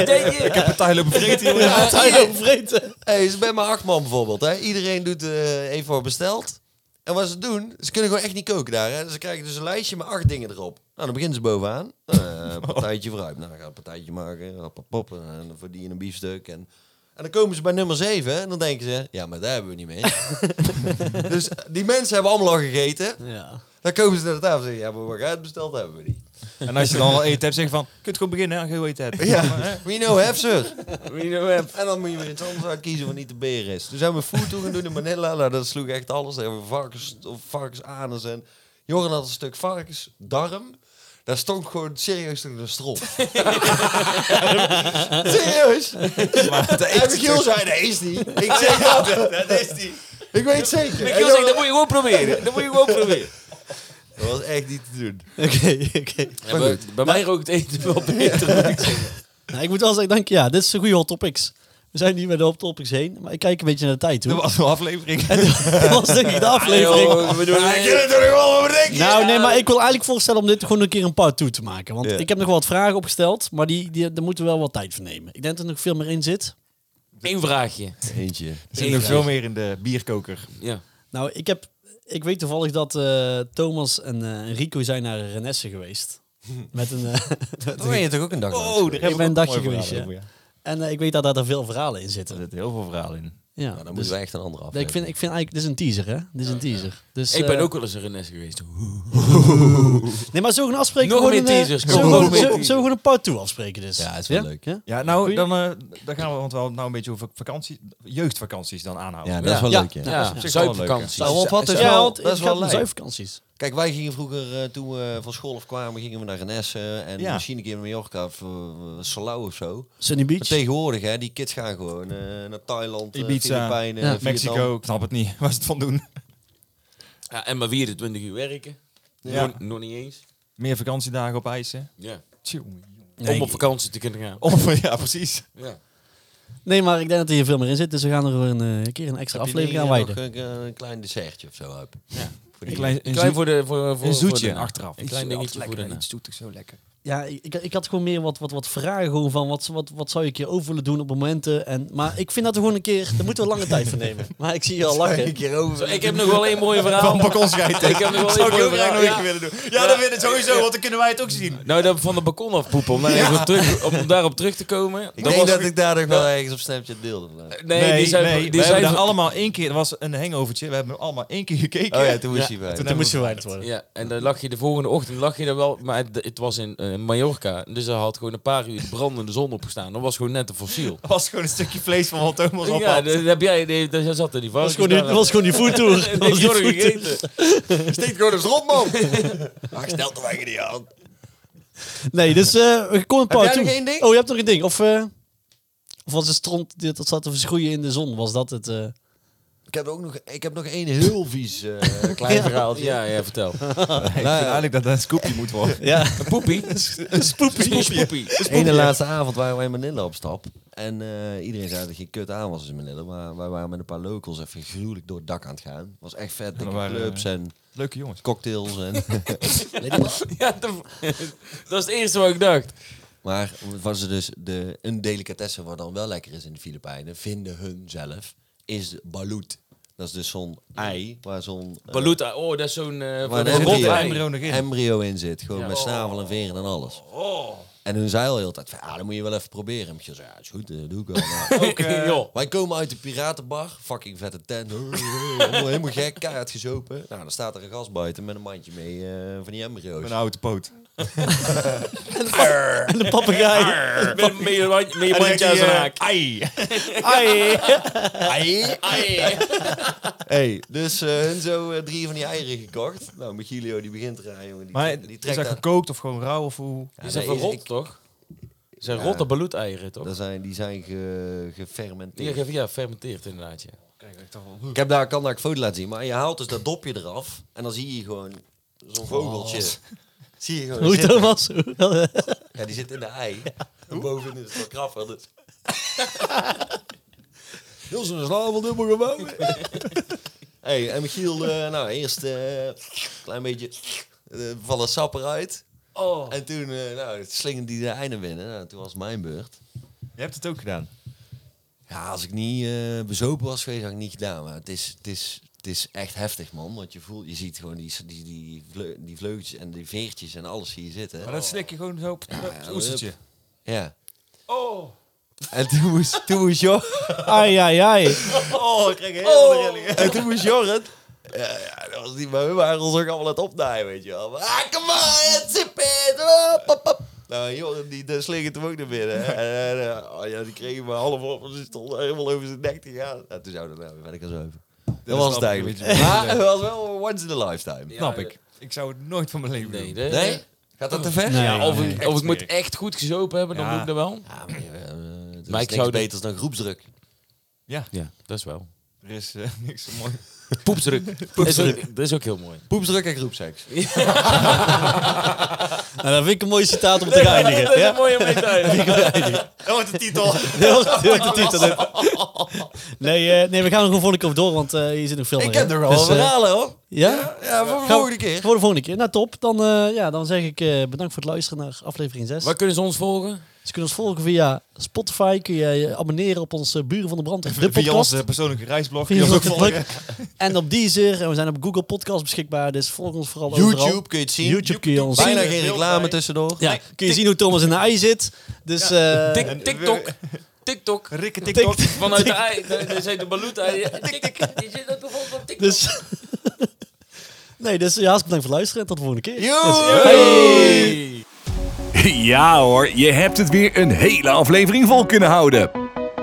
S4: Patatje.
S5: Ik heb een tuin lopen vreten. jongen.
S3: Partij overvreten.
S2: Hey, is bij mijn achtman bijvoorbeeld. Hè? Iedereen doet eh even voor besteld. En wat ze doen, ze kunnen gewoon echt niet koken daar. Hè? Ze krijgen dus een lijstje met acht dingen erop. Nou, dan beginnen ze bovenaan. Eh partijtje vooruit. Nou, dan gaat een partijtje maken. Hop, hop, hop. En dan voor die en een biefstuk. En, en dan komen ze bij nummer zeven. hè, En dan denken ze, ja, maar daar hebben we niet mee. dus die mensen hebben allemaal al gegeten.
S3: Ja.
S2: Dan komen ze naar de tafel en zeggen, ja, maar wat jij hebt besteld hebben we niet.
S5: En als je dan al eten hebt, zeg je van, kunt gewoon beginnen hè, als je heel eten hebt.
S2: Ja, we know have, sir.
S4: We know have.
S2: En dan moet je weer iets anders uitkiezen wat niet de beer is. Toen zijn we food toe gaan doen in Manila. Nou, dat sloeg echt alles. Daar hebben we varkens, of varkensanus en... Joran had een stuk varkensdarm. Daar stonk gewoon serieus toen een strop. serieus?
S5: Maar het
S2: En
S5: eten-
S2: Michiel zei, dat is die. Ik zeg dat.
S5: Dat is die.
S2: Ik weet het zeker. En
S4: Michiel zegt, dat moet je gewoon proberen. Dat moet je gewoon proberen.
S2: Dat was echt niet te doen.
S3: Oké, oké.
S4: Ja, maar bij mij rookt het eten wel beter.
S3: Nou, ik moet wel zeggen, dank je. Ja, dit is een goede hot topics. We zijn nu bij de hot topics heen, maar ik kijk een beetje naar de tijd
S5: Dat
S3: toe.
S5: was een aflevering.
S3: Dat was denk ik de aflevering.
S4: Joh, we doen het.
S3: Nou, nee, maar ik wil eigenlijk voorstellen om dit gewoon een keer een part 2 te maken. Want
S2: Ja.
S3: ik heb nog wel wat vragen opgesteld, maar die, die, daar moeten we wel wat tijd voor nemen. Ik denk dat er nog veel meer in zit.
S4: Eén vraagje.
S2: Eentje.
S5: Er zit
S4: Eén
S5: nog
S4: vraag.
S5: veel meer in de bierkoker.
S4: Ja.
S3: Nou, ik, heb, ik weet toevallig dat eh, Thomas en eh, Rico zijn naar Renesse geweest. Met een, eh,
S2: Toen ben je toch ook een dag langs?
S5: daar heb
S3: ben een
S5: ook
S3: dagje
S5: mooie
S3: geweest,
S5: verhalen
S3: ja.
S5: over,
S3: en eh, ik weet dat daar dan veel verhalen in
S5: Er
S3: zitten.
S5: zitten heel veel verhalen in.
S3: Ja,
S2: Nou, dan
S3: dus-
S2: moeten we echt een andere
S3: nee, ik, vind,
S2: aflevering.
S3: ik vind eigenlijk, dit is een teaser, hè? Dit is een teaser. Dus,
S4: Ik ben
S3: eh,
S4: ook wel eens een Renesse geweest.
S3: Nee, maar zo gaan afspreken.
S4: Nog
S3: gewoon
S4: meer
S3: een, eh,
S4: teasers,
S3: Zo
S4: kom, nog
S3: gewoon
S4: meer
S3: zo-
S4: teasers.
S3: zo gewoon een part 2 afspreken, dus.
S2: Ja, is wel leuk.
S3: Ja?
S5: Ja, nou, dan, eh, dan gaan we, want we hadden het nou een beetje over vakantie, jeugdvakanties dan aanhouden.
S2: Ja, dat is wel
S3: Ja.
S2: leuk, ja.
S4: Ja,
S5: op zich wel een
S4: zuipvakantie.
S2: Nou, want wat is
S3: ja,
S2: wel,
S3: want
S2: dat is
S3: het gaat
S2: wel
S3: om
S2: leuk.
S3: zuivakanties.
S2: Kijk, wij gingen vroeger, eh, toen we van school af kwamen, gingen we naar Renesse en
S5: Ja.
S2: misschien een keer naar Mallorca of eh, Salau of zo.
S3: Sunny
S2: Maar
S3: Beach.
S2: tegenwoordig, hè, die kids gaan gewoon eh, naar Thailand, eh,
S5: Ibiza,
S2: Filipijnen,
S3: ja,
S2: Vietnam.
S5: Mexico, ik snap het niet waar ze het van doen.
S4: Ja, en maar 24 uur werken.
S5: Ja.
S4: Nog, nog niet eens.
S5: Meer vakantiedagen op ijs, hè?
S4: Ja.
S5: Tjonge, jonge.
S4: Om op vakantie te kunnen gaan.
S5: Om- ja, precies.
S4: Ja.
S3: Nee, maar ik denk dat er hier veel meer in zit, dus we gaan er weer een eh, keer een extra
S2: Heb je
S3: aflevering
S2: niet,
S3: aan
S2: eh,
S3: wijden.
S2: nog Een, een klein dessertje of zo. Huip? Ja. Voor die-
S5: Een klein, een,
S4: Klein
S5: zoet-
S4: voor de, voor, voor,
S5: een
S4: voor
S5: zoetje
S4: de-
S5: achteraf.
S4: Een klein dingetje voor de
S5: Iets zoetig, zo lekker.
S3: Ja, ik, ik had gewoon meer wat, wat, wat vragen gewoon van wat, wat, wat zou ik hier over willen doen op momenten. En, maar ik vind dat we gewoon een keer, daar moeten we lange tijd voor nemen. Maar ik zie je al lachen.
S2: keer over.
S4: Zo, ik heb nog wel één mooie verhaal. Ik heb nog wel één
S5: Zou ik
S4: mooie
S5: ook graag
S4: verhaal.
S5: nog
S4: Ja.
S5: even willen doen. Oh, Ja, dat vind ik sowieso, want dan kunnen wij het ook zien.
S4: Nou, dat van het balkon afpoepen. Om, daar even op terug, om daarop terug te komen.
S2: Ik
S4: Dat
S2: denk
S4: was-
S2: dat Oh ik daar nog wel ergens op Snapchat deelde. maar-
S4: Nee, die zijn,
S5: nee,
S4: die
S5: we
S4: zijn
S5: hebben daar
S4: van-
S5: allemaal één keer, er was een hangovertje, we hebben hem allemaal één keer gekeken.
S2: Oh ja, toen moest hij bij.
S5: toen
S3: Dan moest je
S5: hebben
S3: verwijderd worden.
S4: Ja, en dan lag je de volgende ochtend lag je er wel, maar het, het was in eh, Mallorca, dus er had gewoon een paar uur brandende zon opgestaan. Dat was gewoon net een fossiel.
S5: we- was gewoon een stukje vlees van wat Thomas op
S4: Ja, dus-
S5: had.
S4: dat heb jij, die- daar zat er die
S3: Dat was
S4: varkens.
S3: gewoon die, dat was gewoon die foodtour. Dat was die foodtour.
S2: Steekt gewoon eens rond, man. Maar ik stel toch eigenlijk niet aan.
S3: Nee, dus eh we komen een
S2: Heb jij
S3: paar toe.
S2: nog één ding?
S3: Oh, je hebt nog een ding. Of, eh, Of was het stront die- dat zat te verschroeien in de zon? Was dat het? eh?
S2: Ik heb ook nog, ik heb nog één heel vies eh, klein verhaaltje.
S4: Ja, ja, vertel.
S5: vind eigenlijk dat dat een scoopje moet worden.
S3: Ja.
S4: Een poepie. Een spoepie. spoepie.
S2: Eén en laatste avond waren wij in Manila op stap. En eh, iedereen zei dat er geen kut aan was in Manila. Maar wij waren met een paar locals even gruwelijk door het dak aan het gaan. was echt vet. Dikke
S5: er waren, eh,
S2: clubs en
S5: Leuke jongens.
S2: cocktails. En
S4: Ja, dat, dat is het eerste wat ik dacht.
S2: maar was er dus de, een delicatesse wat dan wel lekker is in de Filipijnen, vinden hun zelf, is balut. Dat is dus zo'n ei waar zo'n... eh,
S4: Baluta, oh, dat is zo'n... eh
S2: Waar
S4: van
S2: een
S4: een rot
S2: embryo,
S4: ei.
S5: embryo nog in. Oh.
S2: embryo in zit. Gewoon met snavel en veren en alles. En hun zei al heel de tijd, van, ja, dan moet je wel even proberen. En ik zei, ja, is goed, dat doe ik wel. Nou,
S4: Joh.
S2: Wij komen uit de piratenbar, fucking vette tent. Helemaal helemaal gek, keihard gezopen. Nou, dan staat er een gast buiten met een mandje mee eh, van die embryo's.
S5: Een houten poot.
S3: En de papegaai.
S4: Met- Met met je wand- met je mandje aan zijn haak.
S5: Ai!
S3: Ai.
S2: Ei.
S4: Ai.
S2: Hey, dus eh, hun zo eh, drie van die eieren gekocht. Nou, Michielio die begint te rijden. jongen, Die,
S5: Maar
S2: die
S5: is dat
S2: aan-
S5: gekookt of gewoon rauw of hoe?
S2: Ja,
S4: Die
S2: dat
S4: zijn verrot,
S2: ik-
S4: toch? Die zijn rotte balut-eieren, toch?
S2: dat zijn, die zijn ge- gefermenteerd.
S4: Die ja, fermenteerd inderdaad, ja.
S2: Ik heb daar, kan daar een foto laten zien, maar je haalt dus dat dopje eraf en dan zie je gewoon zo'n vogeltje. Zie je gewoon
S3: Hoe
S2: zitten.
S3: Thomas?
S2: Ja, die zit in de ei. En bovenin is het wel krapper. Dus. Heel zijn snavel dubbel gewoon. hey, en Michiel, eh, nou eerst een klein beetje eh vallen sap eruit.
S4: Oh.
S2: En toen eh nou, slingerde die de ei naar binnen. Nou, toen was het mijn beurt.
S5: Je hebt het ook gedaan.
S2: Ja, als ik niet eh, bezopen was geweest, had ik het niet gedaan. Maar het is, het is, het is echt heftig, man. Want je voelt, je ziet gewoon die, die, die, vleu- die vleugeltjes en die veertjes en alles hier zitten.
S5: Maar dat slik je gewoon zo op het oestertje.
S2: Ja.
S4: Oh.
S2: En toen moest, toen moest Jor...
S3: Ai, ai, ai.
S2: Oh, ik kreeg En toen moest Jorrit... Ja, ja, dat was niet maar we waren ons ook allemaal aan het opnaaien, weet je wel. Ah, come on, het zip it. Ah, pap, pap. Nou, Jorrit, die daar slingert hem ook naar binnen. En, eh, oh, ja, die kreeg hem half op en ze stond helemaal over zijn nek te gaan. En toen zou dat nou weer verder gaan zuipen. Dat was het
S5: snap ik
S2: eigenlijk.
S5: een beetje.
S2: Maar het was wel een once in a lifetime.
S5: Snap ik. Ik zou het nooit van mijn leven doen.
S4: Nee, nee.
S2: Nee? Gaat dat te ver?
S4: Ja, of ik,
S5: nee.
S4: of
S5: Echt
S4: ik moet
S5: smerig.
S4: echt goed gezopen hebben, dan
S5: Ja.
S4: moet ik dat wel.
S2: Ja, maar, eh, er is
S4: Maar ik
S2: niks
S4: zou dit-
S2: beters dan groepsdruk.
S4: Ja, dat is wel.
S5: Er is eh, niks zo mooi.
S4: Poepsdruk. Dat is ook- Dat is ook heel mooi.
S2: Poepsdruk en groepseks.
S3: Nou, dat vind ik een mooi citaat om te eindigen. Ja?
S4: mooi om mee te eindigen.
S5: Dat wordt de titel.
S3: Heel goed, heel goed, titel. Nee, eh, nee, we gaan er gewoon volgende keer op door, want eh, hier zit nog veel meer.
S2: Ik heb
S3: hè?
S2: er wel
S3: Dus,
S2: wat
S3: eh,
S2: verhalen, hoor.
S3: ja?
S2: Ja, voor de
S3: Gaan we-
S2: volgende keer.
S3: Voor de volgende keer. Nou, top. Dan, eh, ja, dan zeg ik eh, bedankt voor het luisteren naar aflevering 6.
S4: Waar kunnen ze ons volgen?
S3: Ze kunnen ons volgen via Spotify. Kun je je abonneren op onze Buren van de Brand. De
S5: Via
S3: podcast.
S5: onze persoonlijke reisblog. kun
S3: Via
S5: je ons ook
S3: onze
S5: volgen.
S3: blog. En op Deezer. En we zijn op Google Podcast beschikbaar. Dus volg ons vooral overal.
S2: YouTube kun je het zien.
S3: YouTube kun je ons
S2: Bijna
S3: zien.
S2: geen reclame tussendoor.
S3: Ja, kun je zien hoe Thomas in de ei zit. Dus eh,
S4: Tik- TikTok. TikTok.
S5: Rikke
S3: TikTok.
S5: TikTok.
S4: Vanuit de ei. de- de- de- de balut ei. Tik- Je zit ook bijvoorbeeld op TikTok.
S3: Dus... nee, dus ja, hartelijk bedankt voor het luisteren. En tot de volgende keer.
S4: Hey.
S1: Ja hoor, je hebt het weer een hele aflevering vol kunnen houden.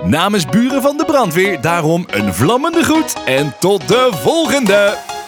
S1: Namens Buren van de Brandweer daarom een vlammende groet en tot de volgende!